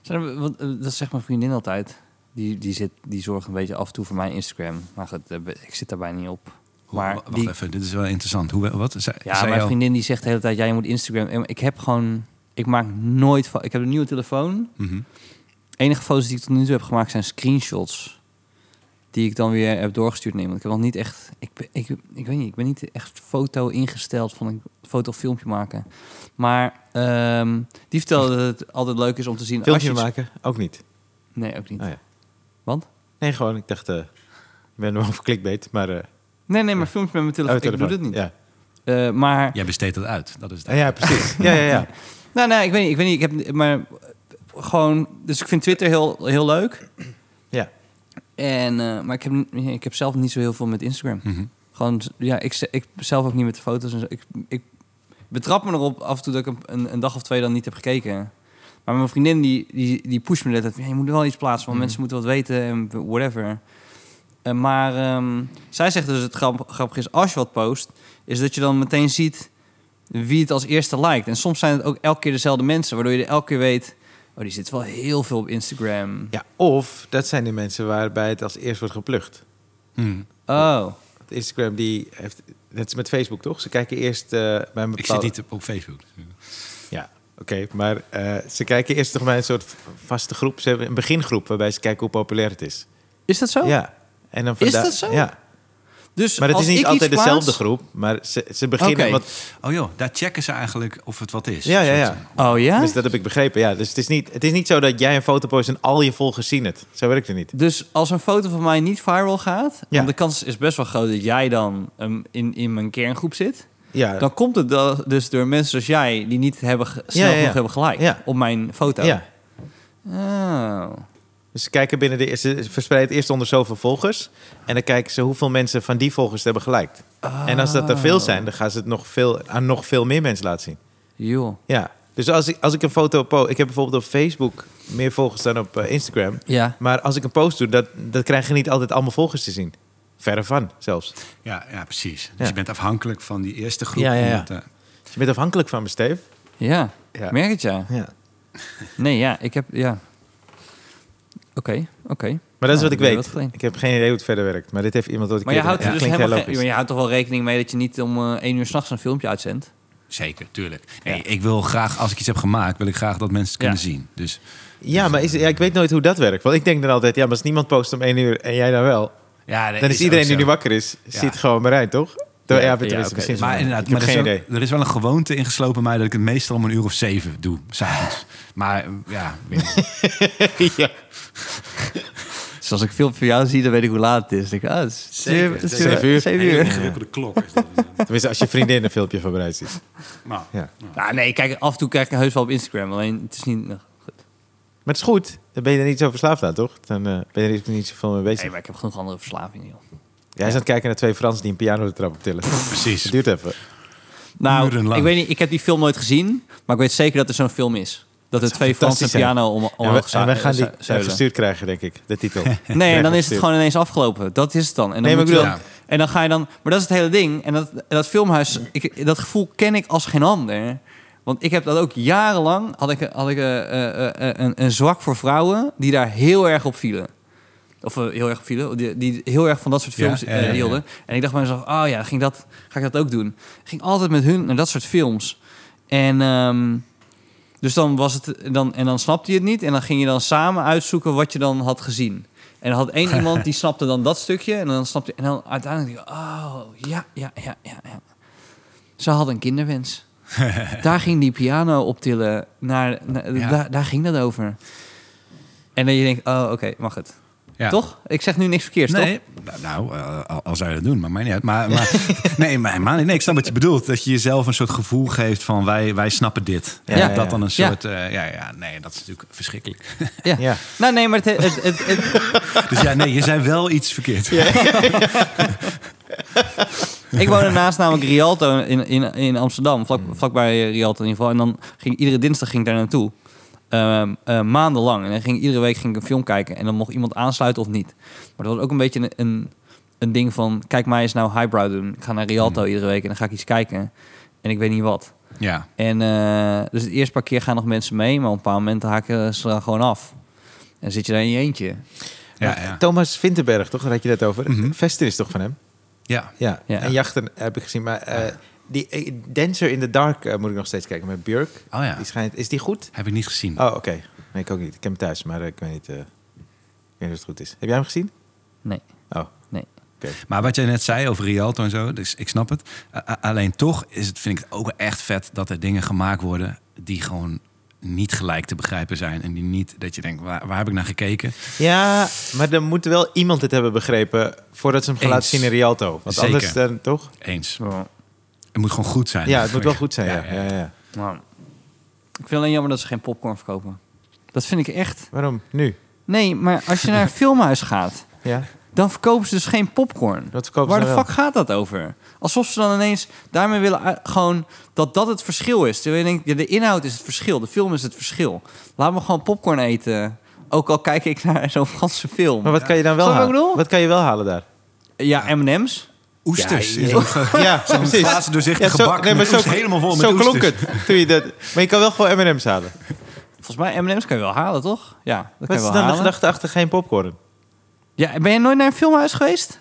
B: Zijn er- want, eh, dat zegt mijn vriendin altijd. Die, die, zit, die zorgt een beetje af en toe voor mijn Instagram. Maar goed, eh, ik zit daarbij niet op.
C: Hoe-
B: Maar
C: Oh, wacht
B: die,
C: even, dit is wel interessant. Hoe wat? Zei,
B: Ja,
C: zei
B: mijn
C: al-
B: vriendin die zegt de hele tijd, jij moet Instagram. Ik heb gewoon, ik maak nooit van. Ik heb een nieuwe telefoon.
C: Mhm.
B: Enige foto's die ik tot nu toe heb gemaakt zijn screenshots. Die ik dan weer heb doorgestuurd neem. Want ik heb nog niet echt. Ik, ben- ik, ik weet niet, ik ben niet echt foto ingesteld van een foto of filmpje maken. Maar ehm, die vertelde dat het altijd leuk is om te zien. als je
A: Filmpje
B: iets-
A: maken? Ook niet.
B: Nee, ook niet.
A: Oh, ja.
B: Want?
A: Nee, gewoon. Ik dacht, eh, ik ben wel voor clickbait, maar... eh,
B: Nee, nee, maar filmpje met mijn telefoon.
A: uit de
B: ik doe
A: Oh, telefoon.
B: dit niet.
A: Ja,
B: Eh, maar
C: Jij besteedt dat uit. Dat is het.
A: Ah, ja precies. ja, ja, ja.
B: Nou, nou, ik weet niet. Ik weet niet. Ik heb maar gewoon. Dus ik vind Twitter heel, heel leuk.
A: Ja.
B: En, eh, maar ik heb, ik heb zelf niet zo heel veel met Instagram.
C: Mhm.
B: Gewoon, ja, ik, ze- ik zelf ook niet met de foto's en zo. Ik, ik betrap me erop af en toe dat ik een, een dag of twee dan niet heb gekeken. Maar mijn vriendin die, die, die pusht me net. Je moet er wel iets plaatsen,
A: Mhm.
B: want mensen moeten wat weten en whatever. Eh, maar ehm, zij zegt dus het grap, grappige is als je wat post, is dat je dan meteen ziet wie het als eerste liked. En soms zijn het ook elke keer dezelfde mensen, waardoor je elke keer weet, oh die zit wel heel veel op Instagram.
A: Ja, of dat zijn de mensen waarbij het als eerst wordt geplukt.
C: Hmm.
B: Oh,
A: Instagram die heeft... Dat is met Facebook, toch? Ze kijken eerst eh, bij een bepaalde...
C: Ik zit niet op Facebook.
A: Ja, oké. Maar eh, ze kijken eerst toch bij een soort vaste groep. Ze hebben een begingroep waarbij ze kijken hoe populair het is.
B: is dat zo?
A: Ja. En dan
B: Oh. Is
A: vanda-
B: dat zo?
A: Ja.
B: Dus
A: Maar het
B: als
A: is niet
B: ik
A: altijd
B: iets plaats-
A: dezelfde groep. Maar ze, ze beginnen...
B: Oké.
A: Want
C: Oh joh, daar checken ze eigenlijk of het wat is.
A: Ja, ja,
C: Een
A: ja.
C: soort, eh,
B: Oh ja?
A: Dus dat heb ik begrepen. Ja, dus het is, niet, het is niet zo dat jij een foto post en al je volgers zien het. Zo werkt het niet.
B: Dus als een foto van mij niet viral gaat,
A: Ja.
B: want de kans is best wel groot dat jij dan ehm, in, in mijn kerngroep zit,
A: Ja,
B: dan komt het da- dus door mensen zoals jij die niet hebben ge- snel
A: Ja, ja, ja.
B: genoeg hebben gelijk
A: Ja.
B: op mijn foto.
A: ja.
B: Oh.
A: Dus ze kijken binnen de. Ze verspreiden het eerst onder zoveel volgers. En dan kijken ze hoeveel mensen van die volgers hebben geliked. En als dat er
B: Oh.
A: veel zijn, dan gaan ze het nog veel, aan nog veel meer mensen laten zien.
B: Joh.
A: Ja. Dus als ik, als ik een foto post. Ik heb bijvoorbeeld op Facebook meer volgers dan op eh, Instagram.
B: Ja.
A: Maar als ik een post doe, dat, dat krijgen niet altijd allemaal volgers te zien. Verre van zelfs.
C: Ja, ja, precies. Dus
A: Ja.
C: je bent afhankelijk van die eerste groep.
A: Ja, ja, ja.
C: om het, eh,
A: Dus je bent afhankelijk van me, Steve.
B: Ja.
A: Ja.
B: Merk het ja.
A: Ja.
B: Nee, ja, ik heb ja. Oké, oké.
A: Maar dat is
B: Nou,
A: wat ik
B: weer
A: weet.
B: geleerd.
A: ik heb geen idee hoe het verder werkt. Maar dit heeft iemand wat ik
B: Maar je houdt er dus
A: klinkt heel
B: helemaal geen-
A: logisch.
B: maar je houdt toch wel rekening mee dat je niet om eh, één uur s'nachts een filmpje uitzendt?
C: Zeker, tuurlijk. Nee, Ik wil graag, als ik iets heb gemaakt, wil ik graag dat mensen het kunnen
B: Ja.
C: zien. Dus
A: Ja, maar is, ja, ik weet nooit hoe dat werkt. Want ik denk dan altijd, ja, maar als niemand post om één uur en jij dan wel,
C: ja, dat
A: dan is,
C: ook
A: iedereen
C: zo.
A: die nu wakker is,
C: Ja.
A: ziet gewoon Marijn, toch? Ja, ja, tenminste,
B: ja, oké.
A: misschien zo.
C: Maar inderdaad,
A: ik heb
C: maar er,
A: geen
C: is
A: idee.
C: wel, er is wel een gewoonte ingeslopen bij mij dat ik het meestal om een uur of zeven doe, s'avonds. maar eh, ja, weet niet.
A: ja.
B: Dus als ik veel van jou zie, dan weet ik hoe laat het is. Dan Denk ik, ah, het is
C: Zeker,
B: zeven-
C: zeker.
B: zeven uur. Zeven uur.
C: ingewikkelde klok. Is dat.
A: Tenminste, als je vriendin een filmpje van Marijn ziet.
C: nou,
A: Ja.
B: Nou, nee, kijk, af en toe krijg ik een heus wel op Instagram. Alleen, het is niet... nou, goed.
A: Maar het is goed, dan ben je er niet zo verslaafd aan, toch? Dan eh, ben je er niet zoveel mee bezig.
B: Nee, maar ik heb genoeg andere verslavingen, joh.
A: Jij is aan het kijken naar twee Fransen die een piano de trap op tillen.
C: precies.
A: Het duurt even.
B: Nou,
C: Urenlang.
B: ik weet niet, ik heb die film nooit gezien. Maar ik weet zeker dat er zo'n film is. Dat er twee Franse
A: fantastisch zijn.
B: piano om,
A: En we,
B: omhoog
A: en
B: zijn.
A: we gaan die gestuurd krijgen, denk ik, de titel.
B: Nee, en dan is het
A: Gestuurd.
B: gewoon ineens afgelopen. Dat is het dan. En dan,
A: Nee, maar
B: moet
A: ik
B: je
A: bedoel-
B: dan- en dan ga je dan... Maar dat is het hele ding. En dat, dat filmhuis, ik, dat gevoel ken ik als geen ander. Want ik heb dat ook jarenlang... Had ik, had ik eh, eh, eh, eh, een, een zwak voor vrouwen die daar heel erg op vielen. Of eh, heel erg op vielen. Die, die heel erg van dat soort
C: Ja,
B: films
C: ja,
B: eh,
C: ja, ja.
B: hielden. En ik dacht bij mezelf, oh ja, ging dat, ga ik dat ook doen? Ging altijd met hun naar dat soort films. En... ehm, dus dan was het, dan, en dan snapte je het niet. En dan ging je dan samen uitzoeken wat je dan had gezien. En dan had één iemand die snapte dan dat stukje. En dan snapte En dan uiteindelijk dacht ik, oh, ja, ja, ja, ja, ja. Ze had een kinderwens. daar ging die piano optillen. Naar, naar-
C: Ja.
B: daar, daar ging dat over. En dan je denkt, oh, oké, mag het.
C: Ja.
B: Toch? Ik zeg nu niks verkeerds,
C: Nee, nou, eh, al- al zou je dat doen, maar mij niet uit. Maar, maar, nee, maar, helemaal niet. nee, ik snap wat je bedoelt. Dat je jezelf een soort gevoel geeft van wij, wij snappen dit.
A: Ja,
C: en
A: ja,
C: dat
A: ja.
C: dan een
B: Ja.
C: soort... eh, ja, ja, nee, dat is natuurlijk verschrikkelijk.
B: toch? Ja.
A: Ja.
B: Nou, nee, maar het... het, het, het,
C: dus ja, nee, je zei wel iets verkeerd.
B: Ik woonde naast namelijk Rialto in, in, in Amsterdam, vlak, vlakbij eh, Rialto in ieder geval. En dan ging iedere dinsdag ging ik daar naartoe. Ehm, eh, maandenlang. En dan ging, iedere week ging ik een film kijken. En dan mocht iemand aansluiten of niet. Maar dat was ook een beetje een, een, een ding van... Kijk mij eens nou highbrow doen. Ik ga naar Rialto iedere week en dan ga ik iets kijken. En ik weet niet wat.
C: Ja,
B: En eh, dus het eerste paar keer gaan nog mensen mee. Maar op een paar momenten haken ze er gewoon af. En dan zit je daar in je eentje.
C: ja, ja.
A: Thomas Vinterberg, toch? Daar had je dat over. Vesten is toch van hem?
C: ja.
A: Ja,
B: Ja.
A: en Jachten heb ik gezien. Maar eh, die eh, Dancer in the Dark eh, moet ik nog steeds kijken met Björk.
C: Oh ja.
A: Die schijnt, is die goed?
C: Heb ik niet gezien.
A: Oh, oké. Nee, ik ook niet. Ik heb hem thuis, maar eh, ik weet niet, eh, ik weet niet of het goed is. Heb jij hem gezien?
B: Nee,
A: Oh,
B: nee.
C: Maar wat jij net zei over Rialto en zo, dus ik snap het. A- a- alleen toch is het, vind ik het ook echt vet dat er dingen gemaakt worden die gewoon niet gelijk te begrijpen zijn. En die niet, dat je denkt, waar, waar heb ik naar gekeken?
A: Ja, maar dan moet wel iemand het hebben begrepen voordat ze hem gaan
C: Eens.
A: laten zien in Rialto. Want
C: Zeker.
A: anders dan toch?
C: Eens.
B: Zo.
C: Het moet gewoon goed zijn.
A: Ja, het moet wel goed zijn. Ja, ja.
C: ja.
A: Ja,
B: Nou, ik vind alleen jammer dat ze geen popcorn verkopen. Dat vind ik echt.
A: Waarom? Nu?
B: Nee, maar als je naar een filmhuis gaat,
A: Ja?
B: dan verkopen ze dus geen popcorn.
A: Wat verkopen
B: Waar
A: ze nou
B: de
A: dan
B: fuck gaat dat over? Alsof ze dan ineens daarmee willen uit- gewoon dat dat het verschil is. Terwijl je denkt, ja, de inhoud is het verschil, de film is het verschil. Laat me gewoon popcorn eten. Ook al kijk ik naar zo'n Franse film.
A: Maar wat kan je dan wel
B: Snap je wat ik
A: halen?
B: bedoel?
A: Wat kan je wel halen daar?
B: Ja, M&M's.
C: Oesters.
A: Ja,
C: in
A: ja.
C: zo'n ge-
A: Ja,
C: Zo'n
A: precies.
C: glazen doorzichtige
A: zo-
C: bak met oest- helemaal vol met
A: Zo klonk
C: oesters.
A: het. Toen je dat, maar je kan wel gewoon M&M's halen.
B: Volgens mij M&M's kan je wel halen, toch? Ja, dat kan
A: Wat
B: je
A: is
B: wel
A: dan de
B: halen.
A: gedachte achter geen popcorn?
B: Ja, ben je nooit naar een filmhuis geweest?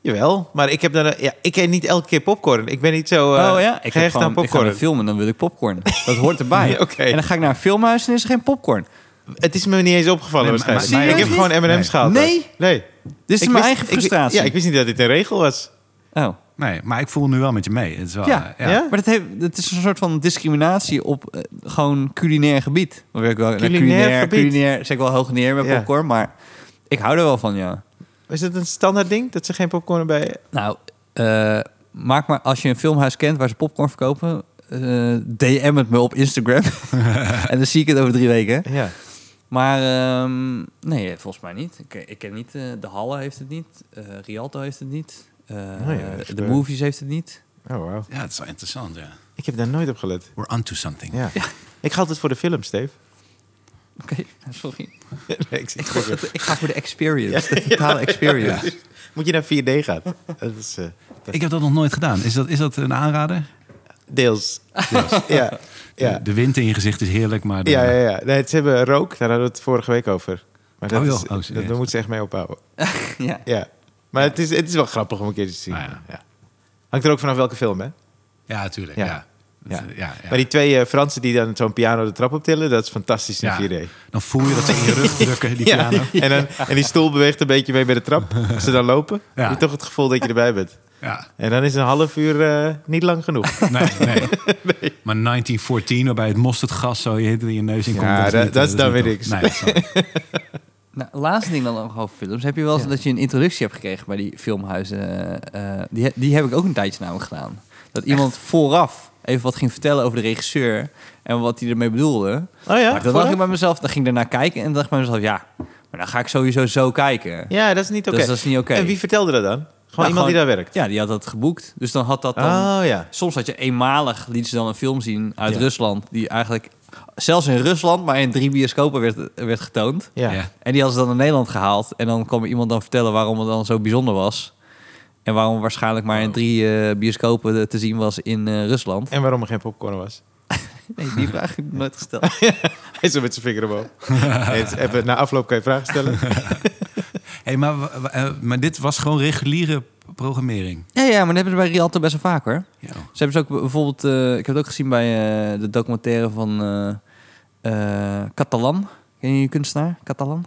A: Jawel, maar ik heb dan... Ja, ik eet niet elke keer popcorn. Ik ben niet zo eh
B: oh ja, ik heb
A: gehecht
B: gewoon,
A: aan
B: ik ga
A: popcorn.
B: naar filmen, dan wil ik popcorn. Dat hoort erbij.
A: Ja, oké.
B: En dan ga ik naar een filmhuis en is er geen popcorn.
A: Het is me niet eens opgevallen
C: Nee, maar-
A: waarschijnlijk.
B: maar-
A: ik heb
B: Serieus
A: gewoon M&M's
C: niet?
A: gehaald.
B: Nee?
A: Nee.
B: Dit is
A: Ik
B: mijn
A: wist-
B: eigen
A: ik-
B: frustratie.
A: ja, ik wist niet dat dit een regel was.
B: oh.
C: Nee, maar ik voel nu wel met je mee. Het is wel,
B: Ja.
C: eh,
A: Ja?
B: Maar dat, heeft, dat is een soort van discriminatie op eh, gewoon culinair gebied. Dan wil ik wel,
A: Culinair gebied.
B: Culinair zeg ik wel hoog neer met
A: Ja.
B: popcorn, maar ik hou er wel van, ja.
A: Is dat een standaard ding? Dat ze geen popcorn bij...
B: Nou, eh, maak maar als je een filmhuis kent waar ze popcorn verkopen, eh, DM het me op Instagram. en dan zie ik het over drie weken.
A: Ja.
B: Maar ehm, nee, volgens mij niet. Ik, ik ken niet, eh, De Halle heeft het niet, eh, Rialto heeft het niet, eh,
A: Oh ja, dat is
B: De
A: waar.
B: Movies heeft het niet.
A: Oh, wow.
C: Ja, het is wel interessant, ja.
A: Ik heb daar nooit op gelet.
C: We're onto something.
A: Ja. Ik ga altijd voor de film, Steve.
B: Oké, sorry.
A: Nee, ik zeg-
B: Ik ga voor de experience, de totale experience.
A: Moet je naar 4D gaan? Dat is, eh, dat-
C: Ik heb dat nog nooit gedaan. Is dat, is dat een aanrader?
A: Deels. ja. Ja.
C: De wind in je gezicht is heerlijk, maar... de-
A: ja, ja, ja. Nee, ze hebben rook, daar hadden we het vorige week over. Maar dat
C: Oh, joh.
A: is,
C: Oh,
A: dat,
C: serieus.
A: daar moeten ze echt mee ophouden.
B: ja.
A: Ja. Maar Het, is, het is wel grappig om een keer te zien.
C: Ah, ja.
A: Ja. Hangt er ook vanaf welke film, hè?
C: Ja, tuurlijk.
A: Ja.
C: Ja. Ja.
A: Ja.
C: ja.
A: Maar die twee eh, Fransen die dan zo'n piano de trap optillen, dat is fantastisch in
C: Ja.
A: 4D.
C: Dan voel je dat ze in je rug drukken, die
A: Ja.
C: piano.
A: En, dan, en die stoel beweegt een beetje mee bij de trap. Als ze dan lopen,
C: Ja.
A: heb je toch het gevoel dat je erbij bent.
C: Ja.
A: En dan is een half uur eh, niet lang genoeg.
C: Nee, nee. Maar 1914, waarbij het mosterdgas zo je, in je neus in komt.
A: Ja, dat-
C: niet,
A: dat is
C: eh,
A: dan
C: niet
A: weer
C: tof.
A: niks.
C: Nee, dat is dan-
B: Nou, laatste ding dan nog over films. Heb je wel eens dat je een introductie hebt gekregen bij die filmhuizen? eh, eh, die, he- die heb ik ook een tijdje namelijk gedaan. Dat iemand vooraf even wat ging vertellen over de regisseur en wat hij ermee bedoelde.
A: Oh ja?
B: maar dan dacht
A: vooraf?
B: ik bij mezelf, dan ging ik daarna kijken en dacht ik bij mezelf, ja, maar dan ga ik sowieso zo kijken. Ja,
A: Ja, dat is niet oké.
B: Dus dat is niet oké.
A: En wie vertelde dat dan? Nou, Gewoon iemand die daar werkt?
B: Ja, die had dat geboekt. Dus dan had dat dan...
A: Oh ja.
B: Soms had je eenmalig, liet ze dan een film zien uit
A: Ja.
B: Rusland, die eigenlijk zelfs in Rusland maar in drie bioscopen werd, werd getoond.
A: Ja.
C: Ja.
B: En die hadden ze dan naar Nederland gehaald. En dan kwam iemand dan vertellen waarom het dan zo bijzonder was. En waarom waarschijnlijk maar in drie eh, bioscopen eh, te zien was in eh, Rusland.
A: En waarom er geen popcorn was.
B: Nee, die vraag heb ik nooit gesteld.
A: Hij is zo met zijn vinger omhoog. Nee, het is even, na afloop kan je vragen stellen.
C: Hey, maar, w- w- eh, maar dit was gewoon reguliere programmering.
B: Ja, ja, maar dat hebben ze bij Rialto best wel vaak hoor.
C: Ja.
B: Ze hebben ze ook bijvoorbeeld... eh, ik heb het ook gezien bij eh, de documentaire van eh, eh, Catalan. Ken je die kunstenaar? Catalan?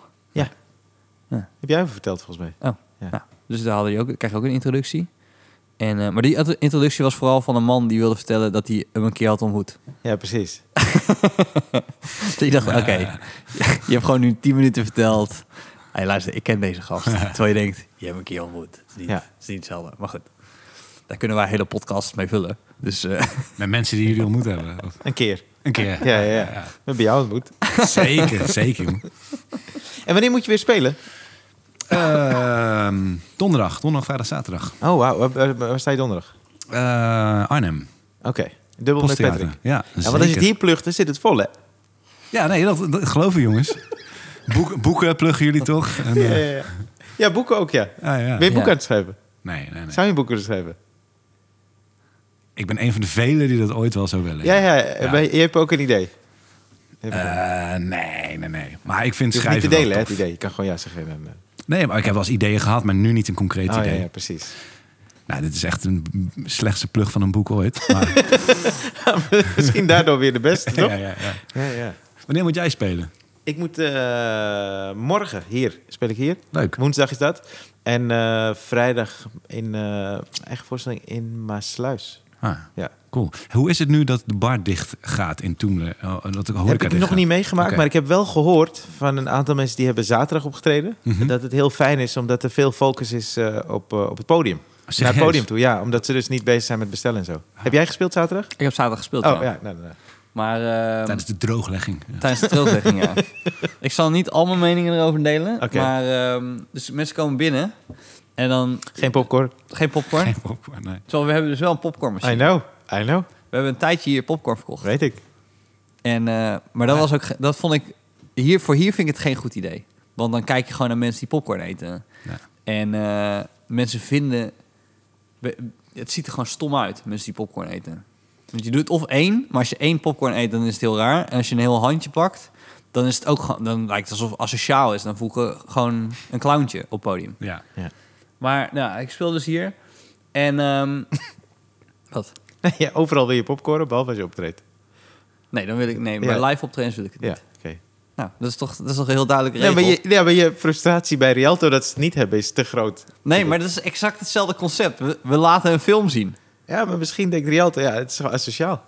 A: Heb jij over verteld volgens mij?
B: Nou, dus daar hadden je ook, krijg je ook een introductie. En, eh, maar die inter- introductie was vooral van een man die wilde vertellen dat hij hem een keer had ontmoet.
A: Ja, precies.
B: Ik dacht, oké, je hebt gewoon nu 10 minuten verteld. Hey, luister, ik ken deze gast. Terwijl je denkt, je hebt een keer ontmoet. Het is niet,
A: Ja.
B: het is niet hetzelfde, maar goed. Daar kunnen wij hele podcasts mee vullen. Dus eh,
C: Met mensen die jullie ontmoet hebben. Of-
A: Een keer.
C: Een keer.
A: Ja, ja, ja. We hebben jou ontmoet.
C: Zeker, zeker.
A: En wanneer moet je weer spelen?
C: Ehm, donderdag, donderdag, vrijdag, zaterdag.
A: Oh, wauw. Waar, waar- waar sta je donderdag?
C: Eh, Arnhem.
A: Oké. Dubbel met
C: Posttheater.
A: Patrick.
C: Ja,
A: Ja, want als je
C: zeker.
A: het hier plucht, dan zit het vol, hè?
C: Ja, nee, dat, dat geloven jongens. Boek, boeken pluggen jullie toch? En,
A: Ja,
C: eh,
A: ja, ja. Ja, boeken ook, ja.
C: ah, ja.
A: Ben je boeken
B: Ja.
A: aan het schrijven?
C: Nee, nee, nee.
A: Zou je boeken schrijven?
C: Ik ben een van de velen die dat ooit wel zou willen.
A: Ja, ja. ja.
C: Ja.
A: Maar Je hebt ook een idee. Je hebt-
C: Eh, nee, nee, nee. Maar ik vind
A: je hoeft niet
C: schrijven
A: te delen, hè,
C: wel
A: het
C: tof.
A: idee. Je kan gewoon ja zeggen. En, eh,
C: Nee, maar ik heb wel eens ideeën gehad, maar nu niet een concreet
A: oh, ja,
C: idee.
A: ja, precies.
C: Nou, dit is echt een b- slechtste plug van een boek ooit. Maar,
A: Misschien daardoor weer de beste, toch?
C: ja, ja, ja.
A: Ja, ja.
C: Wanneer moet jij spelen?
A: Ik moet eh, morgen hier, speel ik hier.
C: Leuk.
A: Woensdag is dat. En eh, vrijdag in eh, eigen voorstelling in Maasluis.
C: Ah,
A: Ja.
C: cool. Hoe is het nu dat de bar dicht gaat in Toemler? Oh, dat de horeca
A: heb ik
C: dicht
A: nog
C: gaat?
A: niet meegemaakt,
C: Oké.
A: maar ik heb wel gehoord van een aantal mensen die hebben zaterdag opgetreden.
C: Mhm.
A: Dat het heel fijn is, omdat er veel focus is eh, op, eh, op het podium. Naar
C: Serieus? Ah.
A: het podium toe, ja. Omdat ze dus niet bezig zijn met bestellen en zo. Heb jij gespeeld zaterdag?
B: ik heb zaterdag gespeeld.
A: Oh
B: ja.
A: ja, nou, nou, nou.
B: Maar eh,
C: Tijdens
B: tijdens,
C: de drooglegging.
B: de trilzegging, ja. Ik zal niet al mijn meningen erover delen.
A: Oké.
B: Maar ehm, dus mensen komen binnen en dan
A: geen popcorn.
B: geen popcorn.
C: Geen popcorn, nee.
B: Terwijl we hebben dus wel een
A: I
B: popcornmachine.
A: know, I know.
B: We hebben een tijdje hier popcorn verkocht.
A: Weet ik.
B: En, eh, maar dat was ook, ge- dat vond ik, hier, voor hier vind ik het geen goed idee. Want dan kijk je gewoon naar mensen die popcorn eten.
C: Ja.
B: En eh, mensen vinden, we- het ziet er gewoon stom uit, mensen die popcorn eten. Want je doet of één, maar als je één popcorn eet, dan is het heel raar. En als je een heel handje pakt, dan is het ook gewoon, dan lijkt het alsof het asociaal is. Dan voel ik eh, gewoon een clowntje op het podium.
C: Ja.
B: Maar nou, ik speel dus hier. En ehm, wat?
A: Nee, ja, overal wil je popcorn, behalve als je optreedt.
B: Nee, dan wil ik nee,
A: Ja.
B: maar live optredens wil ik het
A: Ja,
B: niet.
A: oké.
B: Nou, dat is toch dat is toch een heel duidelijk
A: Ja,
B: regel.
A: maar je, ja, maar je frustratie bij Rialto dat ze het niet hebben is te groot.
B: Nee, maar dat is exact hetzelfde concept. We, we laten een film zien.
A: Ja, maar misschien denkt Rialto, ja, het is wel asociaal.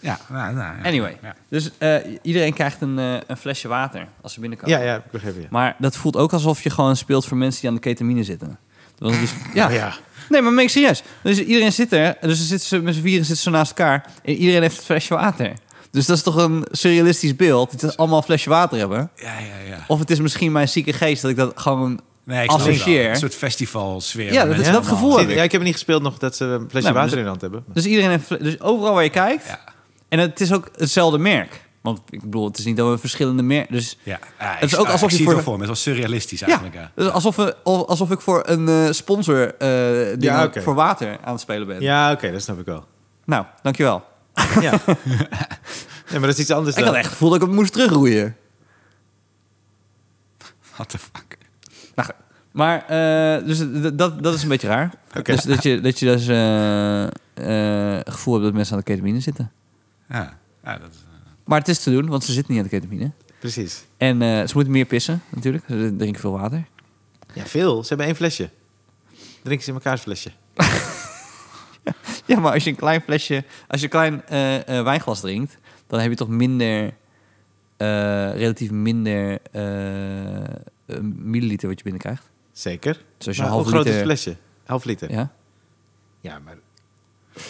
C: Ja, nou, nou, ja.
B: Anyway,
C: Ja.
B: dus eh, iedereen krijgt een, eh, een flesje water als ze binnenkomen.
A: Ja, ja, ik begrijp je.
B: Maar dat voelt ook alsof je gewoon speelt voor mensen die aan de ketamine zitten. Dat was dus, ja.
A: Oh ja.
B: Nee, maar meen ik serieus. Dus iedereen zit er. Dus er zitten ze met z'n vieren zitten ze naast elkaar. En iedereen heeft een flesje water. Dus dat is toch een surrealistisch beeld. Dat ze allemaal een flesje water hebben.
C: Ja, ja, ja.
B: Of het is misschien mijn zieke geest dat ik dat gewoon...
C: Nee, ik snap het wel.
B: Associeer.
C: Een soort festivalsfeer.
B: Ja, dat is
C: Mensen
B: dat
C: allemaal-
B: gevoel.
A: Zie je, Ja, ik heb het niet gespeeld nog dat ze een flesje
B: Nou, maar
A: water
B: dus-
A: in de hand hebben.
B: Dus iedereen heeft... fle- Dus overal waar je kijkt.
C: Ja.
B: En het is ook hetzelfde merk. Want ik bedoel, het is niet dat we verschillende merken... Dus
C: Ja, ja
B: Het is ook alsof je
C: ik zie
B: voor-
C: het wel voor me. Het was surrealistisch
B: ja,
C: eigenlijk. Ja.
B: dus alsof, we, al- alsof ik voor een eh, sponsor eh ding
A: Ja, oké.
B: voor water aan het spelen ben.
A: Ja, oké, dat snap ik wel.
B: Nou, dankjewel.
A: Ja. Nee, maar dat is iets anders
B: Ik
A: dan...
B: had echt het gevoel dat ik het moest terugroeien.
C: What the fuck?
B: Nou, goed. maar eh, dus d- dat, dat is een beetje raar.
A: Oké.
B: Dus dat je, dat je dus, eh, eh, het gevoel hebt dat mensen aan de ketamine zitten.
C: Ja, ja dat is... eh,
B: Maar het is te doen, want ze zitten niet aan de ketamine.
A: Precies.
B: En eh, ze moeten meer pissen, natuurlijk. Ze drinken veel water.
A: Ja, veel. Ze hebben één flesje. Drinken ze in elkaars flesje.
B: Ja, maar als je een klein flesje, als je een klein eh, eh, wijnglas drinkt, dan heb je toch minder, eh, relatief minder eh, een milliliter wat je binnenkrijgt.
A: Zeker.
B: Dus als je
A: Maar
B: een half
A: hoe groot is
B: liter-
A: het flesje? Half liter. Ja,
B: Ja?
A: maar...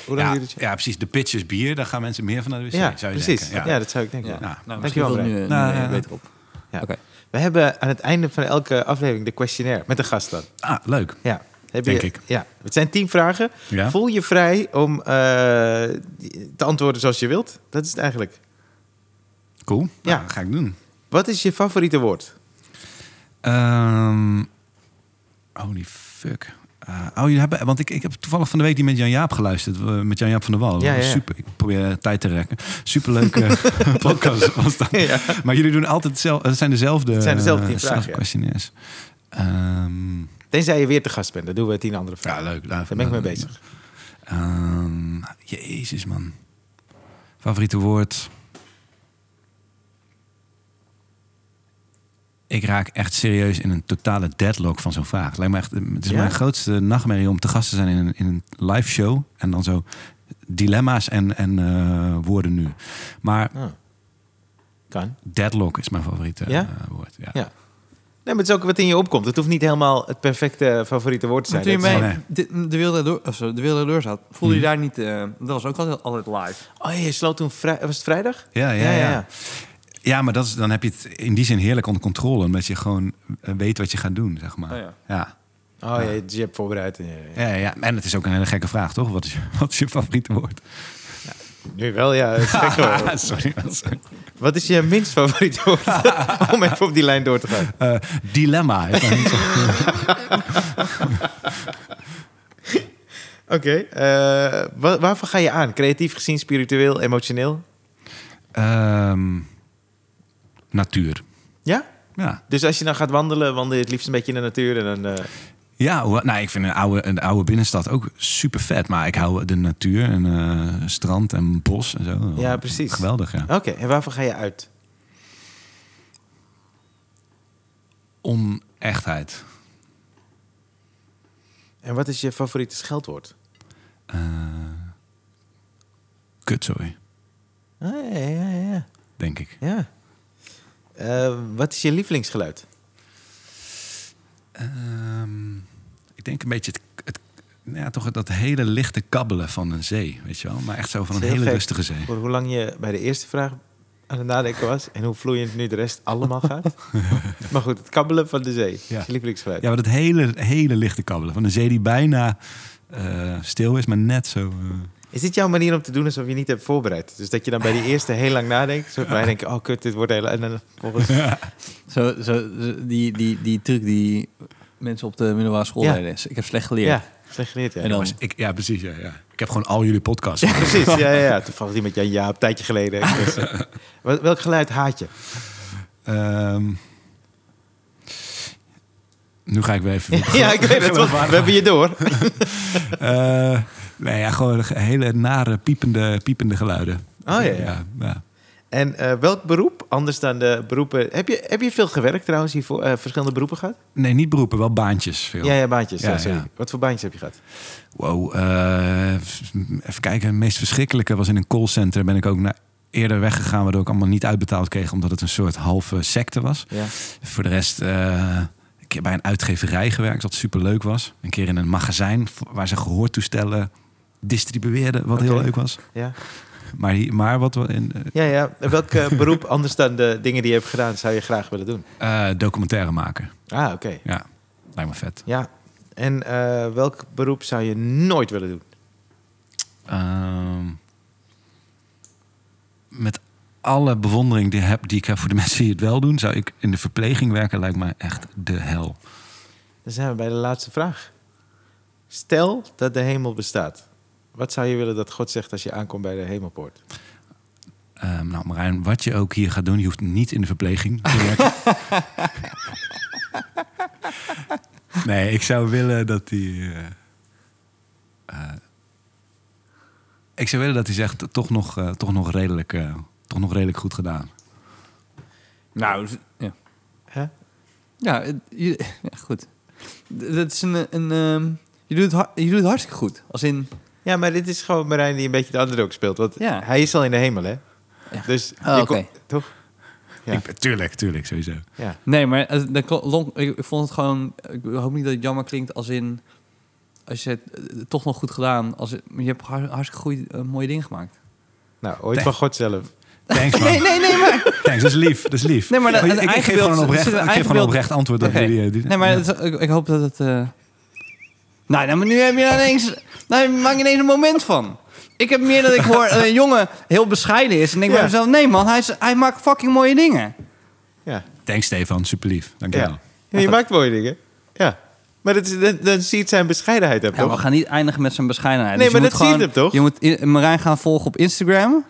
A: Hoe lang
C: Ja,
A: duurt het?
C: ja, precies. De pitch is bier. Daar gaan mensen meer van naar de wc,
A: Ja,
C: zou je
A: precies.
C: denken.
A: Ja. dat zou ik denken.
B: Ja.
A: ja.
C: Nou,
B: Nou, misschien
A: Dankjewel,
B: valt het nu,
A: Brian.
B: nu
C: Nou, ja,
B: eh,
C: ja.
B: beter op.
A: Ja.
B: Oké.
A: We hebben aan het einde van elke aflevering de questionnaire met de gast dan.
C: Ah, leuk.
A: Ja. Heb
C: Denk
A: je,
C: ik.
A: Ja. Het zijn tien vragen.
C: Ja.
A: Voel je vrij om eh, te antwoorden zoals je wilt? Dat is het eigenlijk.
C: Cool.
A: Ja.
C: Ja, ga ik doen.
A: Wat is je favoriete woord?
C: Ehm, holy fuck. Eh, oh, jullie hebben, want ik, ik heb toevallig van de week die met Jan-Jaap geluisterd. eh, Met Jan-Jaap van der Wal.
A: Ja, ja, ja.
C: Super, ik probeer eh, tijd te rekken. Superleuke podcast was dat.
A: Ja.
C: Maar jullie doen altijd hetzelfde. Het zijn dezelfde, het
A: zijn dezelfde tien vragen, ja.
C: questionnaires. Ehm,
A: Tenzij je weer te gast bent. Dan doen we tien andere
C: ja,
A: vragen.
C: leuk.
A: Daar ben ik mee bezig.
C: Ehm, jezus, man. Favoriete woord? Ik raak echt serieus in een totale deadlock van zo'n vraag. Lijkt me echt, het is
A: Ja?
C: mijn grootste nachtmerrie om te gast te zijn in een, in een live show. En dan zo dilemma's en, en eh, woorden nu. Maar
A: Ah. Kan.
C: deadlock is mijn favoriete
A: Ja?
C: eh, woord. Ja.
A: Ja. Nee, maar het is ook wat in je opkomt. Het hoeft niet helemaal het perfecte favoriete woord te
B: Maar
A: zijn.
B: toen je
A: Dat is
B: bij
C: wel-
B: de, de Wereld Door, de Wereld Door zat, voelde
A: Hmm.
B: je daar niet... eh, dat was ook altijd, altijd live.
A: gewoon- Oh, je sloot toen... vrij- Was het vrijdag?
C: Ja, ja, ja. ja. maar dat is, dan heb je het in die zin heerlijk onder controle. Omdat je gewoon eh, weet wat je gaat doen, zeg maar.
B: Oh ja.
C: ja.
A: Oh, ja, je hebt voorbereid. en je-
C: Ja, ja, en het is ook een hele gekke vraag, toch? Wat is je, wat is je favoriete woord?
A: Nu wel, ja. het is gek hoor.
C: Ah, sorry. sorry.
A: Wat is je minst favoriete woord? Om even op die lijn door te gaan.
C: Eh, dilemma. Ik kan niet zo-
A: Oké. eh, wa- waarvan ga je aan? Creatief gezien, spiritueel, emotioneel?
C: Ehm, natuur.
A: Ja?
C: Ja,
A: Dus als je dan gaat wandelen, wandel je het liefst een beetje in de natuur. En dan, eh,
C: ja hoewel- nou, ik vind een oude, een oude binnenstad ook super vet. Maar ik hou de natuur en eh, strand en bos en zo.
A: Ja, precies.
C: Geweldig, ja.
A: Oké, en waarvan ga je uit?
C: Onechtheid.
A: En wat is je favoriete scheldwoord?
C: Eh kutzooi,
A: Ah, ja, ja, ja.
C: denk ik.
A: ja. Eh, wat is je lievelingsgeluid?
C: Ehm, ik denk een beetje het, het, nou ja, toch dat hele lichte kabbelen van een zee, weet je wel. Maar echt zo van een
A: Heel
C: hele
A: gek.
C: rustige zee.
A: Voor hoe lang je bij de eerste vraag aan het nadenken was... en hoe vloeiend nu de rest allemaal gaat. maar goed, het kabbelen van de zee.
C: Ja.
A: Is je lievelingsgeluid.
C: Ja, maar dat hele, hele lichte kabbelen van een zee die bijna eh, stil is, maar net zo... eh,
A: Is dit jouw manier om te doen alsof je niet hebt voorbereid? Dus dat je dan bij die eerste heel lang nadenkt. Zo van, wij denken, oh kut, dit wordt heel... En dan volgens...
B: Zo, zo, die, die, die truc die mensen op de middelbare school
A: Ja.
B: deden. is, Ik heb slecht geleerd.
A: Ja, slecht geleerd, ja.
B: En dan-
C: jongens, ik, ja, precies. Ja, ja. Ik heb gewoon al jullie podcasts.
A: Precies, ja, ja, ja. Toevallig die met Jan Jaap, een tijdje geleden. Dus, eh, wel- welk geluid haat je?
C: Ehm, Nu ga ik weer even...
A: Ja, ik weet het. want We hebben je door.
C: Eh, nee, ja, gewoon hele nare piepende, piepende geluiden.
A: Oh, ja, ja.
C: ja.
A: En eh, welk beroep, anders dan de beroepen... Heb je, heb je veel gewerkt trouwens hiervoor? eh, verschillende beroepen gehad?
C: Nee, niet beroepen, wel baantjes veel.
A: Ja, ja, baantjes. Ja,
C: Ja,
A: sorry.
C: ja.
A: Wat voor baantjes heb je gehad?
C: Wow, eh, even kijken. Het meest verschrikkelijke was in een callcenter. Ben ik ook naar eerder weggegaan, waardoor ik allemaal niet uitbetaald kreeg, omdat het een soort halve secte was.
A: Ja.
C: Voor de rest, eh, een keer bij een uitgeverij gewerkt, wat super leuk was. Een keer in een magazijn v- waar ze gehoortoestellen distribueerden, wat heel
A: Oké.
C: leuk was.
A: Ja,
C: Maar, hier- maar wat we in
A: ja. ja. En Welk eh, beroep, anders dan de dingen die je hebt gedaan, zou je graag willen doen?
C: eh documentaire maken.
A: Ah, oké.
C: Ja, lijkt me vet.
A: Ja. En eh, welk beroep zou je nooit willen doen?
C: Ehm, met alle bewondering die, heb, die ik heb voor de mensen die het wel doen, zou ik in de verpleging werken, lijkt mij echt de hel.
A: Dan zijn we bij de laatste vraag. Stel dat de hemel bestaat. Wat zou je willen dat God zegt als je aankomt bij de hemelpoort?
C: Ehm, nou, Marijn, wat je ook hier gaat doen, je hoeft niet in de verpleging te werken. nee, ik zou willen dat hij. eh, eh, ik zou willen dat hij zegt, toch nog, eh, toch, nog redelijk, eh, toch nog redelijk goed gedaan.
B: Nou, ja.
A: Hè?
B: Ja, het- je- ja, goed. D- Dat is een... een ehm, je, doet het har- je doet het hartstikke goed. Als in...
A: Ja, maar dit is gewoon Marijn die een beetje de underdog speelt. Want
B: Ja.
A: hij is al in de hemel, hè?
B: Ja.
A: Dus
B: Oh,
A: je
B: oké.
A: komt- toch? Ja.
C: Ik, tuurlijk, tuurlijk, sowieso.
A: Ja.
B: Nee, maar het- de kl- long- ik vond het gewoon... Ik hoop niet dat het jammer klinkt als in... Als je het eh, toch nog goed gedaan. Als, het- je hebt har- hartstikke goede, eh, mooie dingen gemaakt.
A: Nou, ooit
C: Nee.
A: van God zelf.
C: Thanks, man.
B: nee, nee, maar...
C: Thanks, dat is lief. Dat is lief.
B: Nee, maar de-
C: Oh,
B: het
C: ik, ik, geef
B: eigenbeeld-
C: gewoon een oprecht,
B: het
C: ik
B: is een
C: geef gewoon een
B: eigenbeeld-
C: oprecht antwoord. op
B: Oké.
C: jullie, eh, die-
B: Nee, maar
C: ja.
B: het is- ik, ik hoop dat het... eh, Nou, nou, maar nu heb je daar ineens... Nou, maak je ineens een moment van. Ik heb meer dat ik hoor dat een jongen heel bescheiden is. En ik denk
A: Ja.
B: bij mezelf, nee man, hij, is, hij maakt fucking mooie dingen.
A: Ja.
C: Thanks, Stefan. Super lief. Dank je
A: ja.
C: wel.
A: Ja, je maakt mooie dingen. Ja. Maar dat is, dan, dan zie je het zijn bescheidenheid hebben,
B: Ja, we
A: toch?
B: gaan niet eindigen met zijn bescheidenheid.
A: Nee,
B: Dus je
A: maar
B: moet
A: dat
B: gewoon,
A: ziet hem toch?
B: Je moet i- Marijn gaan volgen op Instagram.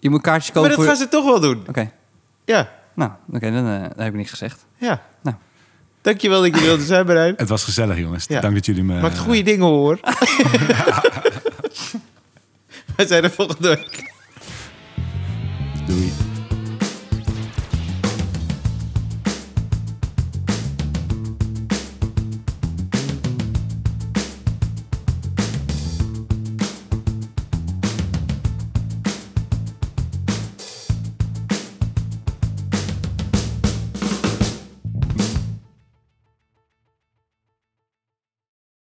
B: Je moet kaartjes
A: Maar
B: kopen
A: dat
B: voor...
A: gaan ze toch wel doen.
B: Oké,
A: Ja.
B: nou, oké, dan, eh, dan heb ik niks gezegd.
A: Ja.
B: Nou.
A: Dankjewel dat je wilde zijn, Marijn.
C: Het was gezellig, jongens.
A: Ja.
C: Dank dat jullie me...
A: Maakt goede dingen hoor. Wij zijn er volgende week.
C: eh, Doei.